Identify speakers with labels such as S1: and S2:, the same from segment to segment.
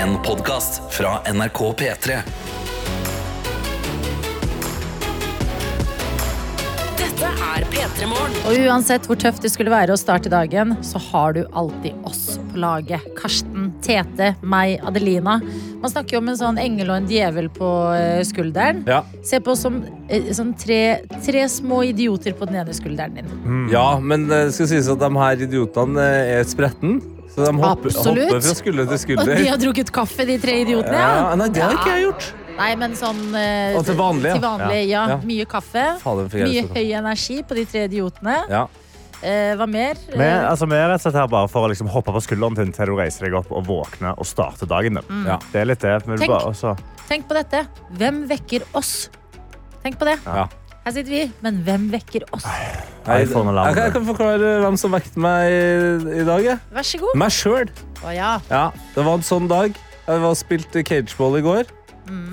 S1: En podcast fra NRK P3
S2: Dette er P3 Morgen.
S3: Og uansett hvor tøft det skulle være å starte dagen, så har du alltid oss på laget. Karsten, Tete, meg, Adelina. Man snakker jo om en sånn engel og en djevel på eh, skulderen.
S4: Ja.
S3: Se på oss som, eh, som tre, tre små idioter på den ene skulderen din.
S4: Ja, men eh, det skal sies at de her idiotene eh, er spretten. Så de hopper,
S3: Absolutt.
S4: hopper fra skulder til
S3: Og
S4: skulder.
S3: de har drukket kaffe, de tre idiotene.
S4: Ja, nei, det har ikke jeg gjort.
S3: Nei, men sånn eh,
S4: Og til vanlig, ja.
S3: til vanlig ja.
S4: Ja.
S3: Mye kaffe.
S4: Fader, fikk jeg
S3: Mye
S4: lyst til å ta.
S3: høy energi på de tre idiotene.
S4: Ja.
S3: Eh, hva mer?
S5: Vi, altså, vi er rett og slett her bare for å liksom, hoppe på skulderen din til du reiser deg opp og våkner og starter dagen din.
S4: Ja.
S5: Det er litt det. Men
S3: Mm.
S5: du
S3: Tenk.
S5: bare, altså, også,
S3: Eh, Tenk på dette. Hvem vekker oss? Tenk på det.
S4: Ja.
S3: Her sitter vi, men hvem vekker oss?
S4: Nei,
S5: iPhone og
S4: jeg, kan, jeg kan forklare hvem som vekket meg i, i dag. Jeg.
S3: Vær så god.
S4: Meg sjøl.
S3: Å ja.
S4: Ja, det var en sånn dag. Jeg var spilt cageball i går.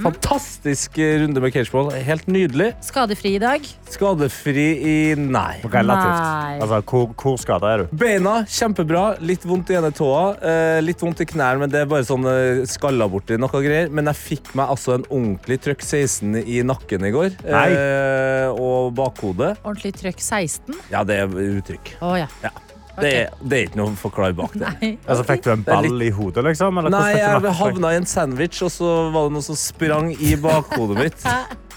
S4: Fantastisk eh, runde med cageball. Helt nydelig.
S3: Skadefri i dag.
S4: Skadefri i Nei.
S5: relativt.
S3: Nei.
S5: Altså, hvor, hvor skada er du?
S4: Beina kjempebra. Litt vondt i ene tåa. eh, litt vondt i knærne, men det er bare sånn eh, skalla borti noe greier. Men jeg fikk meg altså en ordentlig trøkk 16 i nakken i går.
S5: Nei.
S4: eh, og bakhodet.
S3: Ordentlig trøkk 16.
S4: Ja, det er uttrykk.
S3: Å ja.
S4: Ja. Det, er- det er ikke noe å forklare bak det.
S3: Nei.
S5: Altså, fikk du en
S4: Det er
S5: ball i hodet, liksom? Eller,
S4: Nei,
S5: hvordan fikk du
S4: jeg
S5: nakken?
S4: havna i en sandwich, og så var det noe som sprang i bakhodet mitt.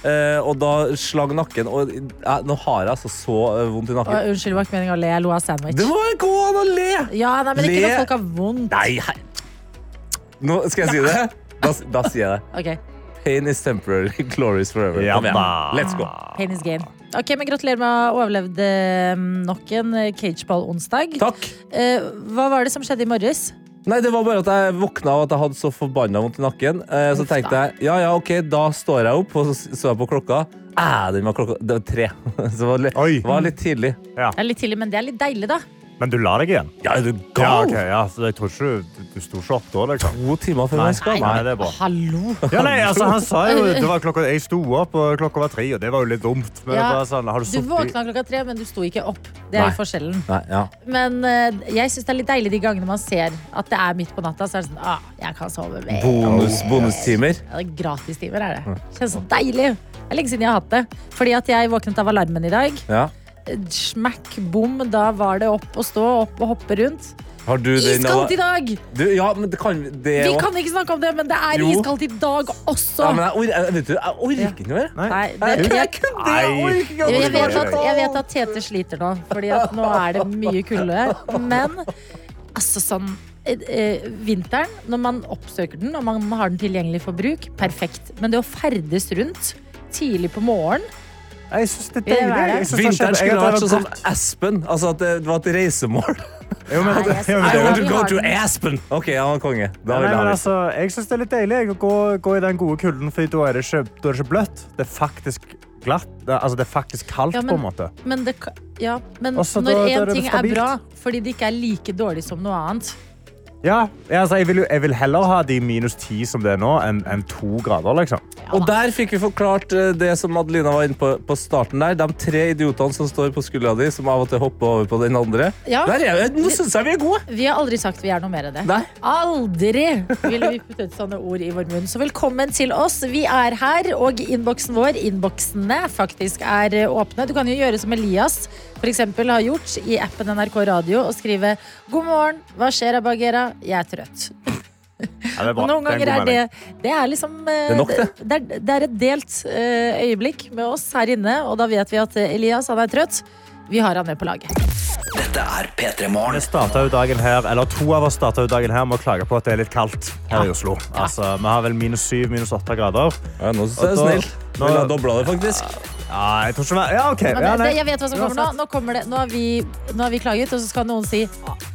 S4: Eh, og da slang nakken. Og eh, nå har jeg altså så eh, vondt i
S3: Å,
S4: nakken.
S3: unnskyld, det var ikke meningen å le. Jeg lo av sandwich.
S4: Det må gå an å le!
S3: Ja, nei, men ikke
S4: Le.
S3: når folk har vondt.
S4: Nei, hei. Nå skal jeg si det. Da, da sier jeg det.
S3: Ok,
S4: Pain is temporary, glory is forever.
S5: Ja
S4: Kom igjen.
S5: da.
S4: Let's go.
S3: pain is gain. Ok, men Gratulerer med å ha overlevd eh, nok en eh, cageball-onsdag.
S4: Takk.
S3: Eh, hva var det som skjedde i morges?
S4: Nei, det var bare at jeg våkna av at jeg hadde så forbanna vondt i nakken. Eh,
S3: Uff
S4: så
S3: da.
S4: tenkte jeg ja, ja, ok, da står jeg opp, og så s- så jeg på klokka. Æ, den var klokka Det var tre. Så det var litt,
S5: Oi.
S4: var litt tidlig.
S3: Det er litt tidlig, men det er litt deilig, da.
S5: Men du la deg igjen?
S4: Ja, er du
S5: Ja,
S4: gal?
S5: ok, ja. Så jeg tror ikke du, du sto ikke opp da, liksom.
S4: To timer før
S5: Nei.
S4: jeg skal.
S5: Nei, det er bra.
S3: Hallo!
S5: Ja, nei, altså, han sa jo det var klokka, Jeg sto opp, og klokka var tre, og det var jo litt dumt. Men
S3: Ja,
S5: bare sånn, har du
S3: Du
S5: sittet i
S3: våkna klokka tre, men du sto ikke opp. Det er
S4: Nei.
S3: jo forskjellen.
S4: Nei, ja.
S3: Men eh, jeg syns det er litt deilig de gangene man ser at det er midt på natta. Så er det sånn, ah, jeg kan sove mer.
S4: Bonus, bonustimer.
S3: Ja, det er Gratistimer er det. Kjennes så deilig. Det er lenge siden jeg har hatt det. Fordi at jeg våknet av alarmen i dag.
S4: Ja.
S3: Smack, bom, da var det opp og stå, opp og hoppe rundt.
S4: Har du den
S3: Iskaldt i dag!
S4: Du, ja, men det kan det
S3: Vi
S4: også.
S3: kan ikke snakke om det, men det er
S4: Jo.
S3: iskaldt i dag også.
S4: ja, men jeg, or jeg, vet du, jeg orker ikke mer.
S3: Nei, det,
S4: Jeg, jeg
S3: jeg,
S4: kunne det! Jeg orker ikke.
S3: Jo, jeg, vet
S5: Oi, oi,
S3: at, jeg vet at Tete sliter nå, Fordi at nå er det mye kulde. Men altså sånn eh, eh, Vinteren, når man oppsøker den og man har den tilgjengelig for bruk, perfekt. Men det å ferdes rundt tidlig på morgeren
S5: Jeg syns det er
S3: Ja, det var det.
S5: deilig. Jeg synes det er
S4: Vinteren
S5: kjempe-
S4: skulle
S5: jeg
S4: vært
S5: hadde
S4: sånn som
S5: gått-
S4: Aspen. Altså at det var et reisemål.
S5: Jo, men-
S3: Nei, jeg
S5: jo, men
S3: synes-
S5: det var-
S3: vi har den.
S4: Aspen! OK, han var konge. Da
S5: Nei,
S4: vil jeg
S5: men
S4: ha det.
S5: altså, jeg syns det er litt deilig jeg, å gå, gå i den gode kulden, for da er det ikke, da er det ikke bløtt. Det er faktisk glatt. Det er, altså, det er faktisk kaldt,
S3: Ja, men-
S5: på en måte.
S3: Men, det, ka- ja, men
S5: Også da-
S3: når
S5: da er
S3: én
S5: det
S3: ting er
S5: stabilt.
S3: bra fordi det ikke er like dårlig som noe annet
S5: Ja, ja, altså, jeg, vil jo, jeg vil heller ha de minus ti som det er nå, enn enn to grader, liksom.
S4: Og der fikk vi forklart eh, det som Adelina var inne på på starten der. De tre idiotene som står på skuldra di, som av og til hopper over på den andre.
S3: Ja.
S4: Der er vi. Nå syns jeg vi er gode.
S3: Vi har aldri sagt vi er noe mer enn det.
S4: Nei.
S3: Aldri ville vi puttet sånne ord i vår munn. Så velkommen til oss. Vi er her, og innboksen vår, innboksene, faktisk er eh, åpne. Du kan jo gjøre som Elias f.eks. har gjort i appen NRK Radio, og skrive 'God morgen, hva skjer Abagera? Jeg er trøtt'.
S5: Ja, det er bra.
S3: Og noen
S5: Det er
S3: ganger
S5: en god
S3: er det
S5: melding.
S3: Det er liksom eh,
S4: Det er nok, det.
S3: Det er, det er et delt eh, øyeblikk med oss her inne, og da vet vi at eh, Elias han er trøtt. Vi har han med på laget.
S1: Dette er P3
S5: Vi
S1: Morgen
S5: startet jo dagen her, eller To av oss starta dagen her med å klage på at det er litt kaldt her i Oslo. Altså, vi har vel minus syv, minus åtte grader.
S4: Ja, nå syns jeg du
S5: Og da-
S4: er snill.
S5: nå-
S4: Ville ha dobla det, faktisk.
S5: Ja, jeg tror ikke vi Ja, OK.
S3: Men
S5: Ja,
S3: det,
S5: nei.
S3: jeg vet hva som kommer nå. Nå, kommer det. nå, har vi, nå har vi klaget, og så skal noen si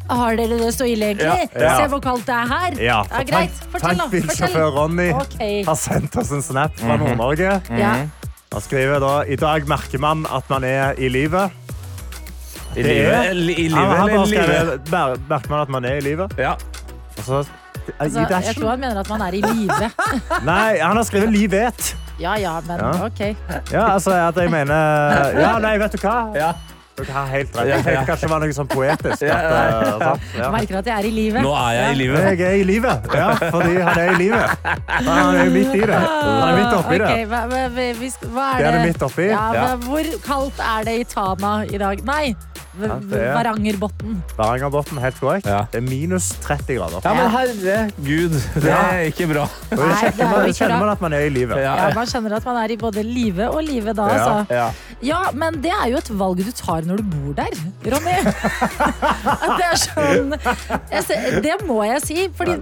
S3: Har dere det så ille, egentlig?
S5: Ja, ja.
S3: Se hvor kaldt det er her.
S5: Ja,
S3: Ja, greit.
S5: tank-
S3: Fortell, nå.
S5: Tankbilsjåfør Ronny
S3: Ok.
S5: har sendt oss en snap fra Nord-Norge.
S3: Ja.
S5: Han skriver da I dag merker man at man er i livet.
S4: I
S5: Det
S4: livet,
S5: er-
S4: eller i livet,
S5: Han- han
S4: eller
S5: bare
S4: i livet.
S5: skrev, "Mer- Merker man at man er i livet?
S4: Ja.
S5: Og så- I
S3: Altså, jeg
S5: dashen?
S3: tror han mener at man er i live.
S5: Nei, han har skrevet 'livet'.
S3: Ja ja, men
S5: Ja.
S3: OK.
S5: Ja, altså, at jeg mener Ja, nei, vet du hva?
S4: Ja.
S5: Dere har helt rett.
S4: Ja, ja.
S5: Jeg tenkte kanskje det var noe sånn poetisk. At, eh, sant? ja.
S3: Merker at jeg er i livet.
S4: Nå er jeg i livet.
S5: Jeg er i livet. Ja, fordi han er i livet. Han er midt i det. Han er midt oppi det.
S3: Ok, hva, hva, hva, vi skal- hva er
S5: Det
S3: det?
S5: er det midt oppi.
S3: Ja, hva,
S4: Ja.
S3: hvor kaldt er det i Tana i dag? Nei, v-
S5: Ja, det er-
S3: Varangerbotn.
S5: Varangerbotn, helt korrekt.
S4: Ja.
S5: Det er minus 30 grader.
S4: Ja, men herregud, det er ikke bra.
S5: Og det
S3: Nei, det er jo
S5: kjenner man,
S3: ikke bra.
S5: kjenner man at man er i livet.
S4: Ja.
S3: Ja, man skjønner at man er i både live og live da,
S5: Ja,
S3: altså.
S4: Ja.
S3: Ja, men det er jo et valg du tar når du bor der, Ronny. At det er sånn jeg ser, Det må jeg si, fordi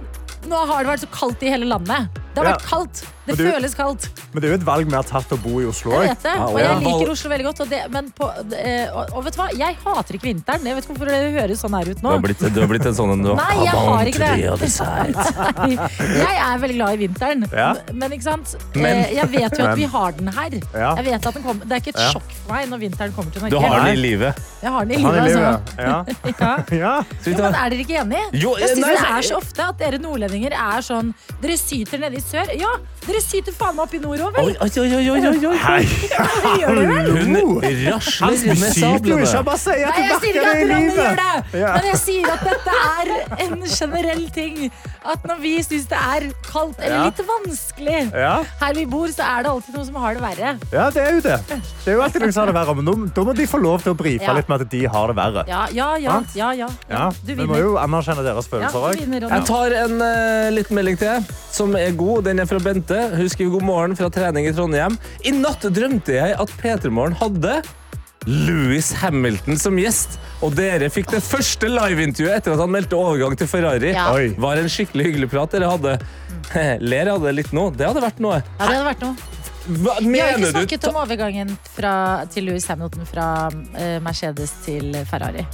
S3: nå har det vært så kaldt i hele landet. Det har
S5: Ja.
S3: vært kaldt. Det
S5: Men du-
S3: føles kaldt.
S5: Men det er jo et valg vi har tatt å bo i Oslo
S3: Jeg
S5: òg.
S3: vet det.
S4: Ja,
S3: Og jeg
S4: og-
S3: liker Oslo veldig godt. Og, det, men på, eh, og, og vet du hva? Jeg hater ikke vinteren. Jeg vet ikke hvorfor det høres sånn her ut
S4: Du
S3: nå.
S4: har blitt, du har blitt en sånn en du
S3: Nei, jeg har ikke det.
S4: Avant dessert.
S3: Jeg er veldig glad i vinteren.
S5: Ja.
S3: Men ikke sant?
S4: Men-
S3: Eh, jeg vet jo
S5: Men-
S3: at vi har den her.
S5: Ja.
S3: Jeg vet at den kommer. Det er ikke et
S5: Ja.
S3: sjokk for meg når vinteren kommer til
S4: Du
S3: Norge.
S4: har det i livet.
S3: Jeg har den i
S5: Han
S3: livet,
S5: er i
S3: altså.
S5: livet. Ja.
S3: Ja.
S5: Ja.
S4: Skal vi
S3: Jo, men
S4: ta
S3: er dere ikke enige?
S4: Jo,
S3: jeg synes
S4: nei,
S3: det
S4: så-
S3: er så ofte at dere nordlendinger er sånn Dere syter nede i sør. Ja, dere syter faen meg opp i nord òg, vel?
S4: Oi, oi, oi, oi, oi, oi, oi.
S5: Hei.
S3: Dere gjør det vel?
S4: Hun
S5: Hallo.
S4: rasler
S5: Han
S4: med
S5: syter jo ikke, han
S4: sablene.
S5: bare sier at
S3: Nei,
S5: du
S3: jeg sier ikke
S5: bakker det
S3: at
S5: i
S3: landet gjør
S5: livet.
S3: det,
S5: Ja.
S3: men jeg sier at dette er en generell ting. At når vi syns det er kaldt eller
S5: Ja.
S3: litt vanskelig
S5: Ja.
S3: her vi bor, så er det alltid noen som har det verre.
S5: ja, det er jo det. Det er jo alltid noen som har det verre. Men nå- da må de få lov til å brife
S3: Ja.
S5: litt med at de har det verre.
S3: Ja, ja, ja.
S5: Sant?
S3: ja, ja,
S5: Ja.
S3: Du
S5: Vi må
S3: vinner.
S5: jo anerkjenne deres
S3: Ja,
S5: følelser
S3: du
S5: òg.
S3: vinner,
S4: Jeg
S3: Ronny.
S4: tar en eh, liten melding til, som er god. Den er fra Bente. Hun skriver god morgen fra trening i Trondheim. I natt drømte jeg at P3morgen hadde Louis Hamilton som gjest. Og dere fikk det første liveintervjuet etter at han meldte overgang til Ferrari.
S3: Ja.
S5: Oi.
S4: Var en skikkelig hyggelig prat dere hadde. Ler jeg av det litt nå? Det hadde vært noe.
S3: Ja, det hadde vært noe.
S4: Hva
S3: Vi har ikke
S4: mener du?
S3: snakket om overgangen fra, til Louis Hamilton fra eh, Mercedes til Ferrari.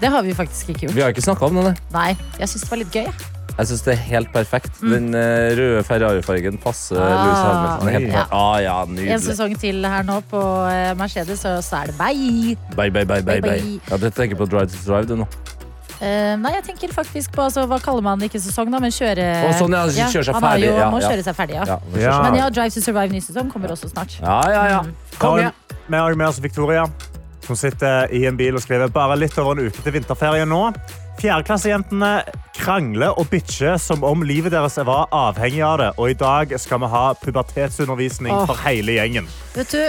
S3: Det har vi faktisk ikke gjort.
S4: Vi har ikke snakka om det, nei.
S3: Nei, jeg syns det var litt gøy. jeg.
S4: Jeg syns det er helt perfekt. Den eh, røde Ferrari-fargen passer
S3: Ah.
S4: Louis Hamilton. Helt
S3: Ja.
S4: klart. Ah, ja,
S3: En
S4: nydelig.
S3: sesong til her nå på eh, Mercedes, og så er det bye.
S4: Bye, bye, bye,
S3: Bye,
S4: bye,
S3: bye.
S4: bye. Ja, du tenker på Drive to Drive, du nå.
S3: Eh, nei, jeg tenker faktisk på altså, Hva kaller man det ikke sesong, da? Men kjøre
S4: Å, sånn, ja, kjøre seg
S3: han har Jo,
S4: ferdig, ja,
S3: må
S4: ja.
S3: kjøre seg ferdig, ja.
S4: Ja,
S5: Ja.
S3: Men ja, Drive to Survive ny sesong kommer også snart.
S4: ja, ja. ja. Kom igjen.
S5: Vi har med oss Victoria, som sitter i en bil og skriver bare litt over en uke til vinterferien nå. Fjerdeklassejentene krangler og bitcher som om livet deres var avhengig av det. Og i dag skal vi ha pubertetsundervisning for hele gjengen.
S3: Vet du,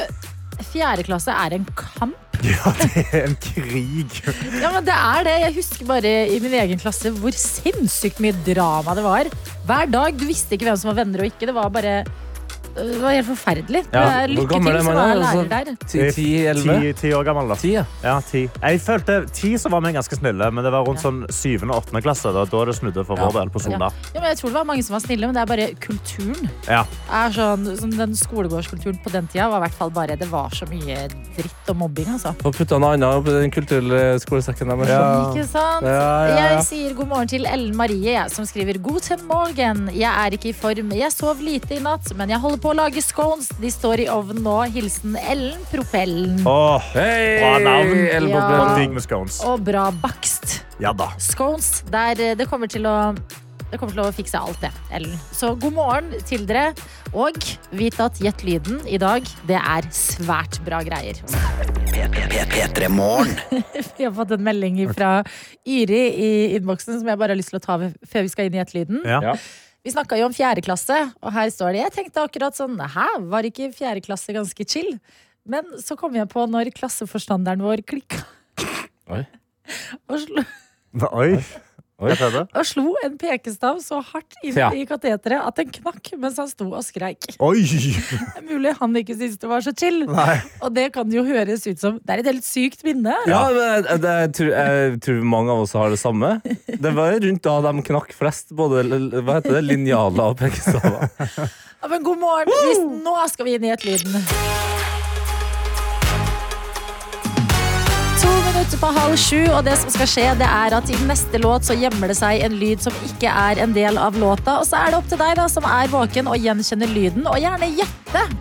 S3: fjerde klasse er en kamp.
S5: Ja, det er en krig.
S3: Ja, men det er det. Jeg husker bare i min egen klasse hvor sinnssykt mye drama det var. Hver dag. Du visste ikke hvem som var venner og ikke. Det var bare øh, det var helt forferdelig.
S4: Ja,
S3: Det er
S4: hvor
S3: lykke
S4: gammel
S3: til
S4: er
S3: som
S4: man da?
S3: er lærer
S4: Altså,
S3: der.
S4: Ti, ti, elleve?
S5: Ti, ti år gammel, da.
S4: Ti, ja.
S5: Ja, ti. Jeg følte ti så var vi ganske snille, men det var rundt sånn syvende og åttende klasse. Da, da det snudde for vår
S4: Ja.
S5: del på
S3: Ja.
S5: Sogndal.
S3: Ja, men jeg tror det var mange som var snille, men det er bare kulturen.
S5: Ja.
S3: er sånn, sånn Den skolegårdskulturen på den tida var i hvert fall bare Det var så mye dritt og mobbing, altså.
S4: Få putta noe annet oppi den kulturelle skolesekken deres.
S3: Ikke sant?
S4: Ja, ja, ja.
S3: Jeg sier god morgen til Ellen Marie, jeg, som skriver God til morgen. Jeg er ikke i form. Jeg sov lite i natt, men jeg holder på å lage scones. De står i ovnen nå. Hilsen Ellen Propellen.
S5: Åh,
S4: Hei!
S5: Bra navn.
S4: Ellen
S3: Ja.
S5: og
S4: Poplin.
S5: digg med scones.
S3: Og bra bakst.
S5: Ja da.
S3: Scones. Der eh, det kommer til å det kommer til å fikse alt det, Ellen. Så god morgen til dere. Og vit at Gjett lyden i dag, det er svært bra greier.
S1: P3 Morgen.
S3: Vi har fått en melding fra Yri i innboksen som jeg bare har lyst til å ta ved- før vi skal inn i Gjett-lyden.
S5: Ja.
S4: Ja.
S3: Vi snakka jo om fjerde klasse, og her står det Jeg tenkte akkurat sånn Hæ, var ikke fjerde klasse ganske chill? Men så kom jeg på når klasseforstanderen vår klikka
S4: Oi.
S3: og slo,
S5: Oi. Hva skjedde?
S3: og slo en pekestav så hardt inn
S4: Ja.
S3: i kateteret at den knakk mens han sto og skreik.
S5: Oi!
S3: Det er mulig han ikke syntes det var så chill. Og det kan jo høres ut som Det er et helt sykt minne.
S4: Ja, men jeg, jeg, jeg, tror, jeg tror mange av oss har det samme. Det var rundt da de knakk flest både l- hva heter det, linjaler og pekestaver.
S3: Ja, men god morgen. Hvis, nå skal vi inn i et lyden. To minutter minutt på halv sju, og det som skal skje, det er at i neste låt så gjemmer det seg en lyd som ikke er en del av låta. Og så er det opp til deg da, som er våken og gjenkjenner lyden, og gjerne gjette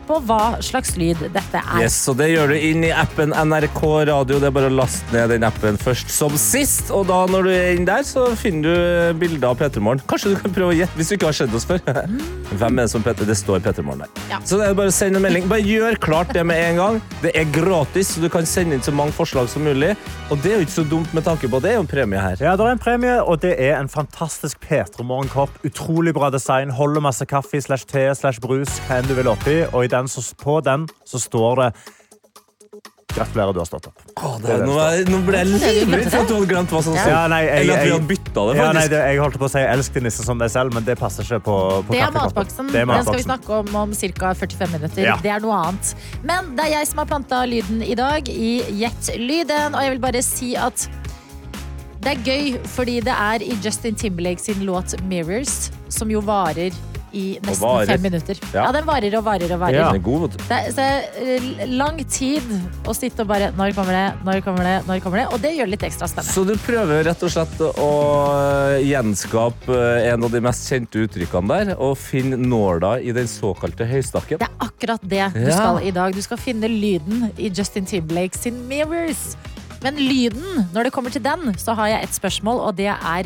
S3: på hva slags lyd dette er.
S4: Yes, og det gjør du inn i appen NRK Radio. Det er bare å laste ned den appen først som sist. Og da når du er inn der, så finner du eh, bilder av P3 Morgen. Kanskje du kan prøve å gjette hvis du ikke har sett oss før. Hvem er det som Petter? Det står P3 Morgen der.
S3: Ja.
S4: Så det er bare å sende en melding. Bare gjør klart det med en gang. Det er gratis, så du kan sende inn så mange forslag som mulig. Og det er jo ikke så dumt med tanke på det. Det er jo en premie her.
S5: Ja, det er en premie, og det er en fantastisk P3morgenkopp. Utrolig bra design. Holder masse kaffe slash te slash brus, hva enn du vil oppi. Og i den, så, på den så står det Gratulerer, du har stått opp.
S4: Å, det er- nå, er, nå ble jeg livredd for at du hadde glemt hva som sto.
S5: Ja, nei, jeg-
S4: Eller at vi
S5: jeg-
S4: hadde bytta det,
S5: Ja, nei,
S4: faktisk.
S5: det, jeg holdt på å si 'elsk din nisse som deg selv', men det passer ikke på, på
S3: Det er
S5: kaffekoppen.
S3: matboksen.
S5: Det er
S3: Den skal vi
S5: matboksen.
S3: snakke om om ca. 45 minutter.
S5: Ja.
S3: Det er noe annet. Men det er jeg som har planta lyden i dag i Gjett lyden, og jeg vil bare si at det er gøy fordi det er i Justin Timberlake sin låt 'Mirrors', som jo varer i nesten
S4: varer.
S3: fem minutter.
S4: Ja.
S3: Ja. den varer og varer og varer.
S5: Ja.
S4: Den er god, vet du.
S3: Det er, så det er lang tid å sitte og bare Når kommer det? Når kommer det? Når kommer det? Og det gjør litt ekstra spennende.
S4: Så du prøver rett og slett å eh, gjenskape eh, en av de mest kjente uttrykkene der, og finne nåla i den såkalte høystakken.
S3: Det er akkurat det du
S4: Ja.
S3: skal i dag. Du skal finne lyden i Justin Timberlake sin Mirrors. Men lyden, når det kommer til den, så har jeg et spørsmål, og det er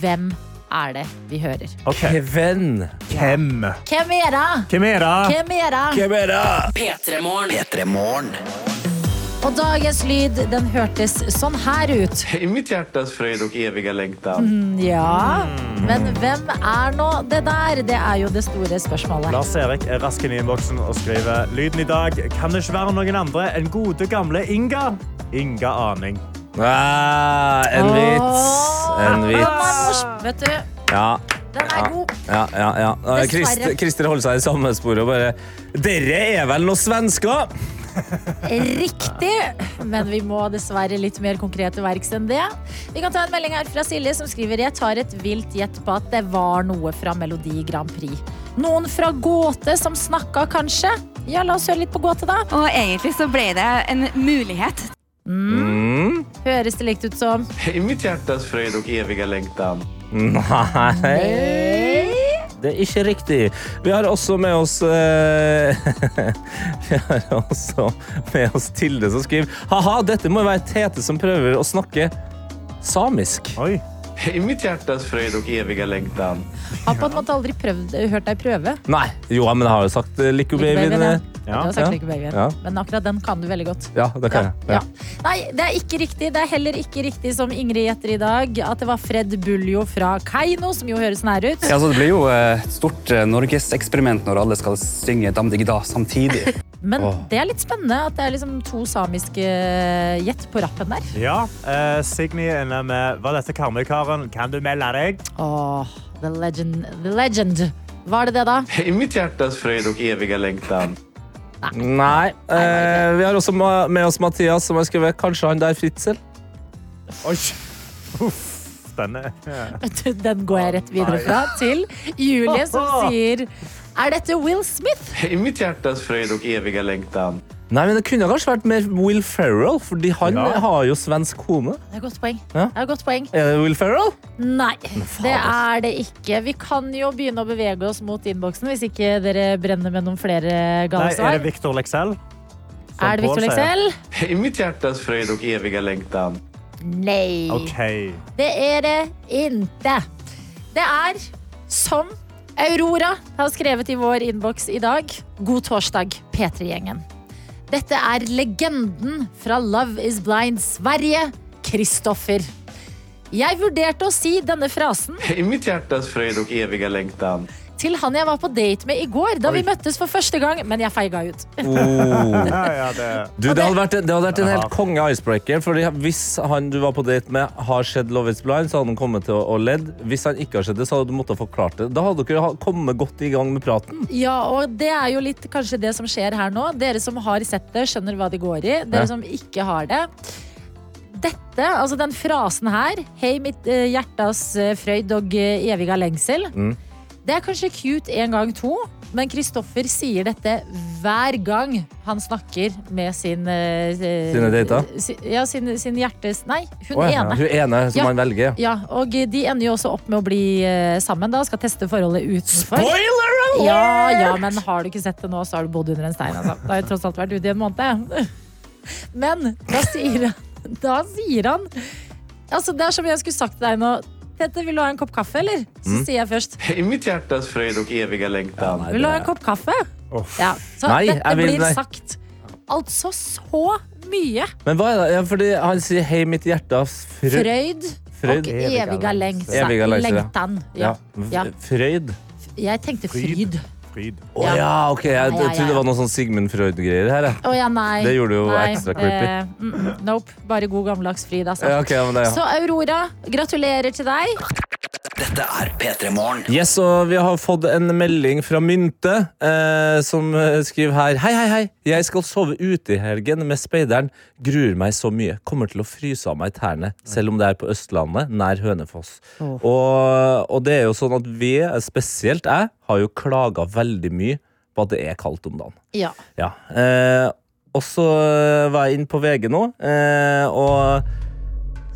S3: hvem er det vi hører?
S5: Ok,
S4: Kevin.
S5: Hvem?
S3: Hvem er det?
S5: Hvem er det?
S3: Hvem er det?
S4: Hvem er det?
S2: P3morgen.
S1: P3morgen.
S3: Og dagens lyd, den hørtes sånn her ut.
S6: I mitt hjärtas fröjd och eviga längtan.
S3: Ja, men hvem er nå det der? Det er jo det store spørsmålet.
S5: Lars Erik er rask inn i innboksen og skriver Lyden i dag kan det ikke være noen andre enn gode, gamle Inga. Inga Aning.
S4: Ah, en vits. En
S3: Den var
S4: vits.
S3: morsom, vet du.
S4: Ja.
S3: Den er god.
S4: Ja, ja, ja. Eh, Christ-
S3: Dessverre.
S4: Christer holder seg i samme spor og bare Dere er vel noen svensker?
S3: Riktig, men vi må dessverre litt mer konkret til verks enn det. Vi kan ta en melding her fra Silje som skriver Jeg tar et vilt gjett på at det var noe fra Melodi Grand Prix. Noen fra Gåte som snakka, kanskje? Ja, la oss høre litt på Gåte, da.
S7: Og egentlig så ble det en mulighet.
S4: Mm.
S3: Høres det likt ut som
S6: I mitt hjärtas fröjd och eviga längtan.
S4: Nei Det er ikke riktig. Vi har også med oss eh, Vi har også med oss Tilde som skriver Ha-ha, dette må jo være Tete som prøver å snakke samisk.
S5: Oi.
S6: I mitt hjärtas fröjd och eviga längtan.
S3: Har på en måte aldri prøvd, hørt deg prøve.
S4: Nei, jo, men jeg har jo sagt eh, Lico
S3: Lico
S4: Babyen.
S3: Babyen,
S4: eh.
S3: Ja, du har
S4: ja,
S3: sagt Lykke Babyen.
S4: ja.
S3: Men akkurat den kan du veldig godt.
S4: Ja, det kan jeg.
S3: Ja.
S4: Ja.
S3: Nei, det er ikke riktig. Det er heller ikke riktig som Ingrid gjetter i dag, at det var Fred Buljo fra Keiino, som jo høres nær ut.
S8: Ja, altså, det blir jo eh, et stort eh, norgeseksperiment når alle skal synge Dam Digg Da samtidig.
S3: Men det er litt spennende at det er liksom to samiske eh, gjett på rappen der.
S5: Ja, eh, Signy er inne med Var dette Karmøy-karen? Kan du melde deg?
S3: Åh, the legend. The legend. Var det det, da?
S6: I mitt hjärtas fröjd och eviga längtan.
S4: Nei. Eh, vi har også ma- med oss Mathias, som har skrevet Kanskje han der Fritzel?
S5: Oi. Uff. Spennende.
S3: Den går jeg rett videre fra til Julie, som sier Er dette Will Smith?
S6: I mitt hjärtas fröjd och eviga längtan.
S4: Nei, men Det kunne kanskje vært mer Will Ferrell, fordi han
S5: Ja.
S4: har jo svensk kone.
S3: Det er et godt poeng.
S4: Ja.
S3: Det er et godt poeng.
S4: Er det Will Ferrell?
S3: Nei, det er det ikke. Vi kan jo begynne å bevege oss mot innboksen hvis ikke dere brenner med noen flere
S5: Nei,
S3: gale
S5: er det
S3: svar.
S5: Victor Leksell? Som
S3: Er det Victor
S5: Pål sier.
S3: Leksell?
S6: I mitt hjärtas fröjd och eviga längtan.
S3: Nei.
S5: OK.
S3: Det er det ikke. Det er som Aurora har skrevet i vår innboks i dag. God torsdag, P3-gjengen. Dette er legenden fra Love is Blind Sverige, Kristoffer. Jeg vurderte å si denne frasen
S6: I mitt hjärtas fröjd och eviga längtan.
S3: til han jeg var på date med i går, da vi møttes for første gang, men jeg feiga ut.
S4: Oh.
S5: Ja, ja, det
S4: Du, det, hadde vært, det hadde vært en
S5: Ja.
S4: helt konge icebreaker. Fordi Hvis han du var på date med, har sett Love is blind, så hadde han kommet til å, å ledd. Hvis han ikke har sett det, så hadde du måttet ha forklart det. Da hadde dere ha- kommet godt i gang med praten.
S3: Ja, og det er jo litt kanskje det som skjer her nå. Dere som har sett det, skjønner hva det går i. Dere
S4: Ja.
S3: som ikke har det. Dette, altså
S4: Mm.
S3: den frasen her, hei mitt eh, hjertas eh, frøyd og eh, eviga lengsel, Det er kanskje cute en gang to, men Kristoffer sier dette hver gang han snakker med sin eh,
S4: Sine dater?
S3: si- Ja, sin, sin hjertes Nei, hun
S4: Å, ja.
S3: ene.
S4: Hun ene som
S3: Ja.
S4: han velger.
S3: Ja, og de ender jo også opp med å bli eh, sammen, da. Skal teste forholdet utenfor.
S4: Spoiler alert!
S3: Ja, ja, men har du ikke sett det nå, så har du bodd under en stein. Altså. Det har jo tross alt vært ute i en måned. Men da sier han, da sier han Altså, Det er som jeg skulle sagt til deg nå. Tete, vil du ha en kopp kaffe, eller? Så sier jeg først.
S6: I mitt hjärtas fröjd og eviga
S4: Mm.
S6: längtan.
S4: Nei,
S3: Vil du ha en
S4: det-
S3: kopp kaffe?
S5: Uff.
S3: Ja, så
S4: Nei, jeg
S3: dette
S4: vil-
S3: blir
S4: nei.
S3: sagt altså så mye.
S4: Men hva er det? Ja, fordi han sier 'hei, mitt hjertas frøyd'.
S3: Frøyd,
S4: Frøyd.
S3: og eviga lengs-
S4: Eviga lengs-
S3: lengtan. Ja. Ja.
S4: Ja. Frøyd?
S3: Jeg tenkte fryd.
S5: Fryd.
S4: Å ja. ok. Jeg,
S3: Ja, ja,
S4: jeg trodde det
S3: ja.
S4: var noe sånn Sigmund Freud-greier her. Jeg.
S3: Å ja, nei.
S4: Det gjorde jo
S3: nei.
S4: ekstra creepy.
S3: Eh, mm, mm, nope. Bare god gammeldags fryd, altså.
S4: Ja, ok, ja, men det, ja.
S3: Så Aurora, gratulerer til deg.
S1: Dette er P3 Morgen.
S4: Yes, og Vi har fått en melding fra Mynte, eh, som eh, skriver her Hei, hei, hei. Jeg skal sove ute i helgen med speideren. Gruer meg så mye. Kommer til å fryse av meg tærne, selv om det er på Østlandet, nær Hønefoss. Og, og det er jo sånn at vi, spesielt jeg, har jo klaga veldig mye på at det er kaldt om dagen.
S3: Ja.
S4: Ja. Eh, og så var jeg inne på VG nå, eh, og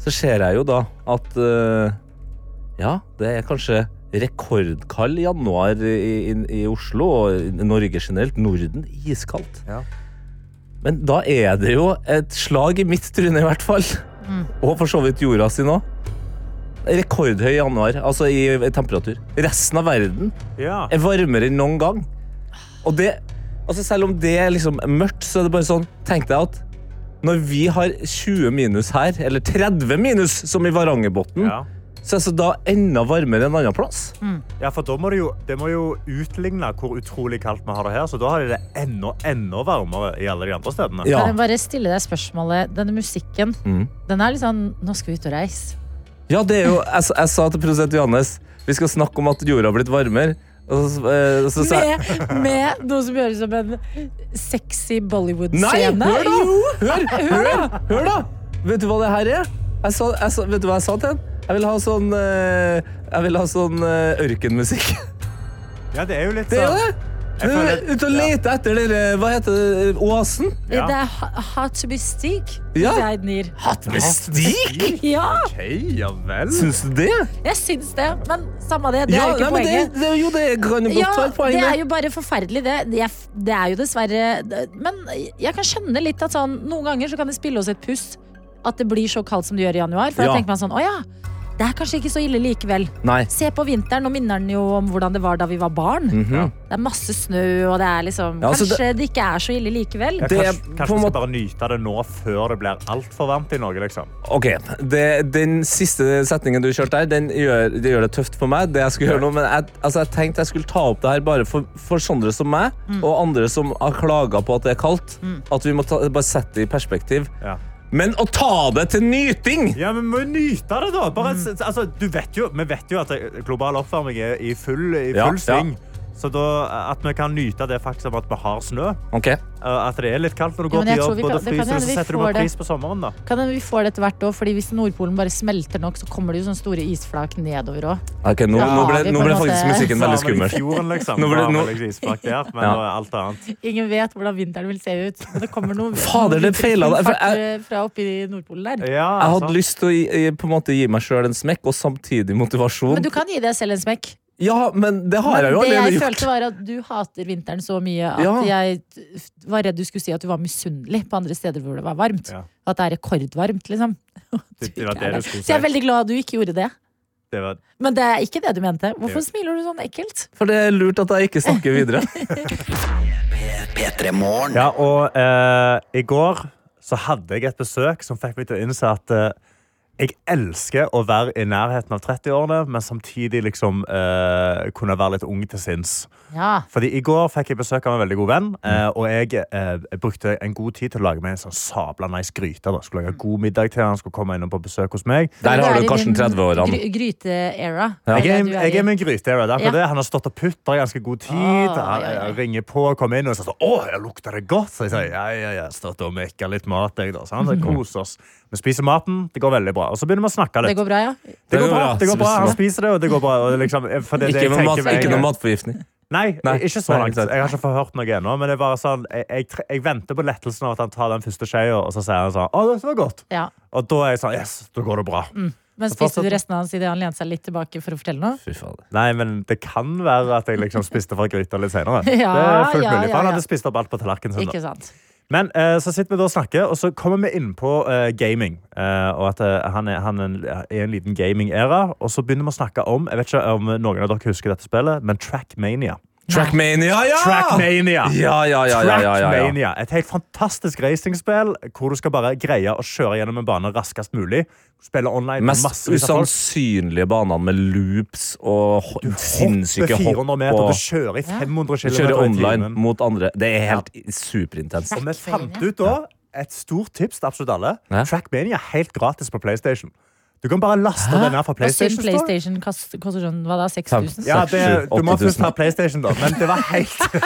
S4: så ser jeg jo da at eh, Ja, det er kanskje rekordkald januar i, i, i Oslo og i Norge generelt. Norden iskaldt.
S5: Ja.
S4: Men da er det jo et slag i mitt tryne, i hvert fall. Og for så vidt jorda si nå. Rekordhøy januar, altså i, i temperatur. Resten av verden
S5: Ja.
S4: er varmere enn noen gang. Og det, altså selv om det er liksom mørkt, så er det bare sånn Tenk deg at når vi har 20 minus her, eller 30 minus, som i Varangerbotn,
S5: Ja.
S4: så er det altså da enda varmere enn annen plass.
S5: ja, for da må det jo, det må jo utligne hvor utrolig kaldt vi har det her. Så da har de det enda, enda varmere i alle de andre stedene.
S4: Ja.
S3: Kan jeg bare stille deg spørsmålet? Denne musikken,
S4: Mm.
S3: den er litt sånn Nå skal vi ut og reise.
S4: Ja, det er jo Jeg, s- jeg sa til produsent Johannes vi skal snakke om at jorda har blitt varmere. Og så, eh, så, sa jeg-
S3: Med, med noe som gjøres som en sexy
S4: Nei,
S3: Bollywood-scene.
S4: hør da!
S3: Jo.
S4: Hør, hør, hør da! Vet du hva det her er? Jeg sa, jeg sa, vet du hva jeg sa til henne? Jeg vil ha sånn, eh, jeg vil ha sånn eh, ørkenmusikk.
S5: Ja, det er jo litt
S4: Det er
S5: sånn-
S4: jo det! Du
S5: Jeg føler-
S4: er ute og leter etter dere, hva heter det, oasen?
S5: Ja.
S3: Det er ha- Hot to be stick.
S4: Ja.
S3: Jeg, nir.
S4: Hatt med stik?
S3: ja,
S5: OK, ja vel.
S4: Syns du det?
S3: jeg syns det. Men samme det, det er
S4: ja,
S3: jo ikke
S4: nei, men
S3: poenget.
S4: Det, det, jo, det kan jo godt
S3: Ja,
S4: være et poeng.
S3: det
S4: det.
S3: er jo bare forferdelig, det. Det er, det er jo dessverre Men jeg kan skjønne litt at sånn, noen ganger så kan det spille oss et puss at det blir så kaldt som det gjør i januar. For
S4: Ja.
S3: da tenker man sånn, å ja, det er kanskje ikke så ille likevel.
S4: Nei.
S3: Se på vinteren, nå minner den jo om hvordan det var da vi var barn. Det er masse snø, og det er liksom
S4: Mhm. Ja, altså,
S3: Kanskje det... ikke er så ille likevel.
S5: Ja,
S4: Det er
S5: kanskje
S4: på en
S5: kanskje vi skal
S4: måte-
S5: bare nyte det nå før det blir altfor varmt i Norge, liksom.
S4: Ok, det, Den siste setningen du kjørte der, den gjør, det gjør det tøft for meg. Det jeg skulle gjøre nå, men jeg, altså, jeg tenkte jeg skulle ta opp det her bare for, for sånne som meg,
S3: Mm.
S4: og andre som har klaga på at det er kaldt. At vi må ta, bare sette det i perspektiv.
S5: Ja.
S4: Men å ta det til nyting!
S5: Ja, men vi må jo nyte det, da! Bare, s- s- altså, du vet jo, vi vet jo at det- global oppvarming er i full, i
S4: Ja,
S5: full
S4: ja.
S5: sving. Så da, at vi kan nyte det faktum at vi har snø, eh,
S4: Ok,
S5: at det er litt kaldt når du
S3: Ja,
S5: går
S3: men jeg
S5: på
S3: tror
S5: jobb,
S3: vi
S5: og da
S3: kan- det kan
S5: fryser du,
S3: hende vi
S5: så setter du
S3: får
S5: bare
S3: det.
S5: pris på sommeren, da.
S3: Kan hende vi får det etter hvert òg, Fordi hvis Nordpolen bare smelter nok, så kommer det jo sånne store isflak nedover òg.
S4: Ok, nå,
S3: Ja,
S4: nå ble,
S3: vi
S4: nå
S3: på en
S4: ble
S3: måte-
S4: faktisk musikken veldig skummel.
S5: I fjorden, liksom.
S4: Nå
S5: Nå
S4: ble- nå-
S5: der, men
S4: Ja.
S5: nå er alt annet.
S3: Ingen vet hvordan vinteren vil se ut. Men det kommer noen
S4: Fader, det feila deg, for jeg-
S3: fart fra oppi Nordpolen der.
S5: Ja, altså.
S4: Jeg hadde
S5: sant.
S4: lyst til å gi, i- på en måte gi meg sjøl en smekk, og samtidig motivasjon.
S3: Men du kan gi deg selv en smekk.
S4: Ja, men det har jeg jo
S3: Men det
S4: allerede
S3: jeg
S4: gjort.
S3: følte, var at du hater vinteren så mye at
S4: Ja.
S3: jeg t- var redd du skulle si at du var misunnelig på andre steder hvor det var varmt.
S5: Ja.
S3: At det er rekordvarmt, liksom.
S5: Det- det var det du skulle
S3: så jeg er
S5: si.
S3: veldig glad du ikke gjorde det.
S5: Det var-
S3: Men det er ikke det du mente. Hvorfor smiler du sånn ekkelt?
S4: For det er lurt at jeg ikke snakker videre.
S1: P3 Morgen.
S5: Ja, og eh, i går så hadde jeg et besøk som fikk meg til å innse at eh, jeg elsker å være i nærheten av 30-årene, men samtidig liksom eh, kunne være litt ung til sinns.
S3: Ja.
S5: Fordi i går fikk jeg besøk av en veldig god venn, eh, og jeg eh, brukte en god tid til å lage meg en sånn sabla nice gryte. Da. Skulle lage god middag til han, skulle komme innom på besøk hos meg.
S4: Der har
S3: Det er
S4: du
S3: i
S4: Karsten
S3: din
S4: 30-årene.
S3: gry- Gryte-era.
S4: Ja.
S3: Det er
S5: Jeg er,
S3: det du
S5: jeg er
S3: i.
S5: med en gryte. jeg er derfor
S3: Ja.
S5: det. Han har stått og putter i ganske god tid.
S3: Ah,
S5: han
S3: ja, ja.
S5: eh, ringer på og
S3: Mhm.
S5: kommer inn og sier sånn, «Åh, jeg lukter det godt. Så jeg sier ja, ja, ja, stått og mekka litt mat. Jeg, da. Så han koser oss. Vi spiser maten, det går veldig bra. Og så begynner vi å snakke
S3: Det
S5: litt.
S3: går bra, ja?
S5: Det går bra, det går bra.
S4: Spiser
S5: Han
S4: mat.
S5: spiser det, og det går bra. Og liksom, for det, er
S4: Ikke,
S5: det jeg
S4: med mat,
S5: tenker med
S4: ikke
S5: en
S4: noe
S5: gang.
S4: matforgiftning.
S5: Nei,
S4: Nei,
S5: ikke så
S4: nei,
S5: langt.
S4: ikke sant.
S5: Jeg har ikke forhørt noe ennå. Men det er bare sånn, jeg, jeg, tre- jeg venter på lettelsen av at han tar den første skjea, og så sier han sånn Å, dette var godt.
S3: ja. Mm.
S5: Og da er jeg sånn Yes, da går det bra.
S3: Men spiste du resten av hans idet han lente seg litt tilbake for å fortelle noe?
S4: Fy fader.
S5: Nei, men det kan være at jeg liksom spiste fra gryta litt senere.
S3: Ja,
S5: det er fullt
S3: ja,
S5: mulig,
S3: ja,
S5: for han
S3: ja.
S5: hadde spist opp alt på tallerkenen sin. da.
S3: Ikke sant?
S5: Men eh, så sitter vi da og snakker, og så kommer vi inn på eh, gaming. eh, og at eh, han, er, han er en- er i en liten gaming-æra. Og så begynner vi å snakke om jeg vet ikke om noen av dere husker dette spillet, men Trackmania.
S4: Trackmania, ja!
S5: Trackmania!
S4: Ja, ja, ja, ja, ja, ja, ja.
S5: Trackmania. Et helt fantastisk racingspill hvor du skal bare greie å kjøre gjennom en bane raskest mulig. Spille online. med
S4: mest sånn
S5: massevis av folk.
S4: usannsynlige banene med loops og ho- sinnssyke
S5: Hoppe
S4: hopp.
S5: 400 meter,
S4: og-
S5: du kjører i 500
S4: Du
S5: km i
S4: kjører online
S5: timen.
S4: mot andre. Det er helt superintenst.
S5: Og vi fant ut da et stort tips til absolutt alle.
S4: Ja.
S5: Trackmania er helt gratis på PlayStation. Du kan bare laste denne fra
S3: Og synd
S5: PlayStation Store.
S3: PlayStation kast- koster sånn hva da, 6000?
S5: Ja, det, du må
S4: 8000.
S5: først ha PlayStation, da. Men det var helt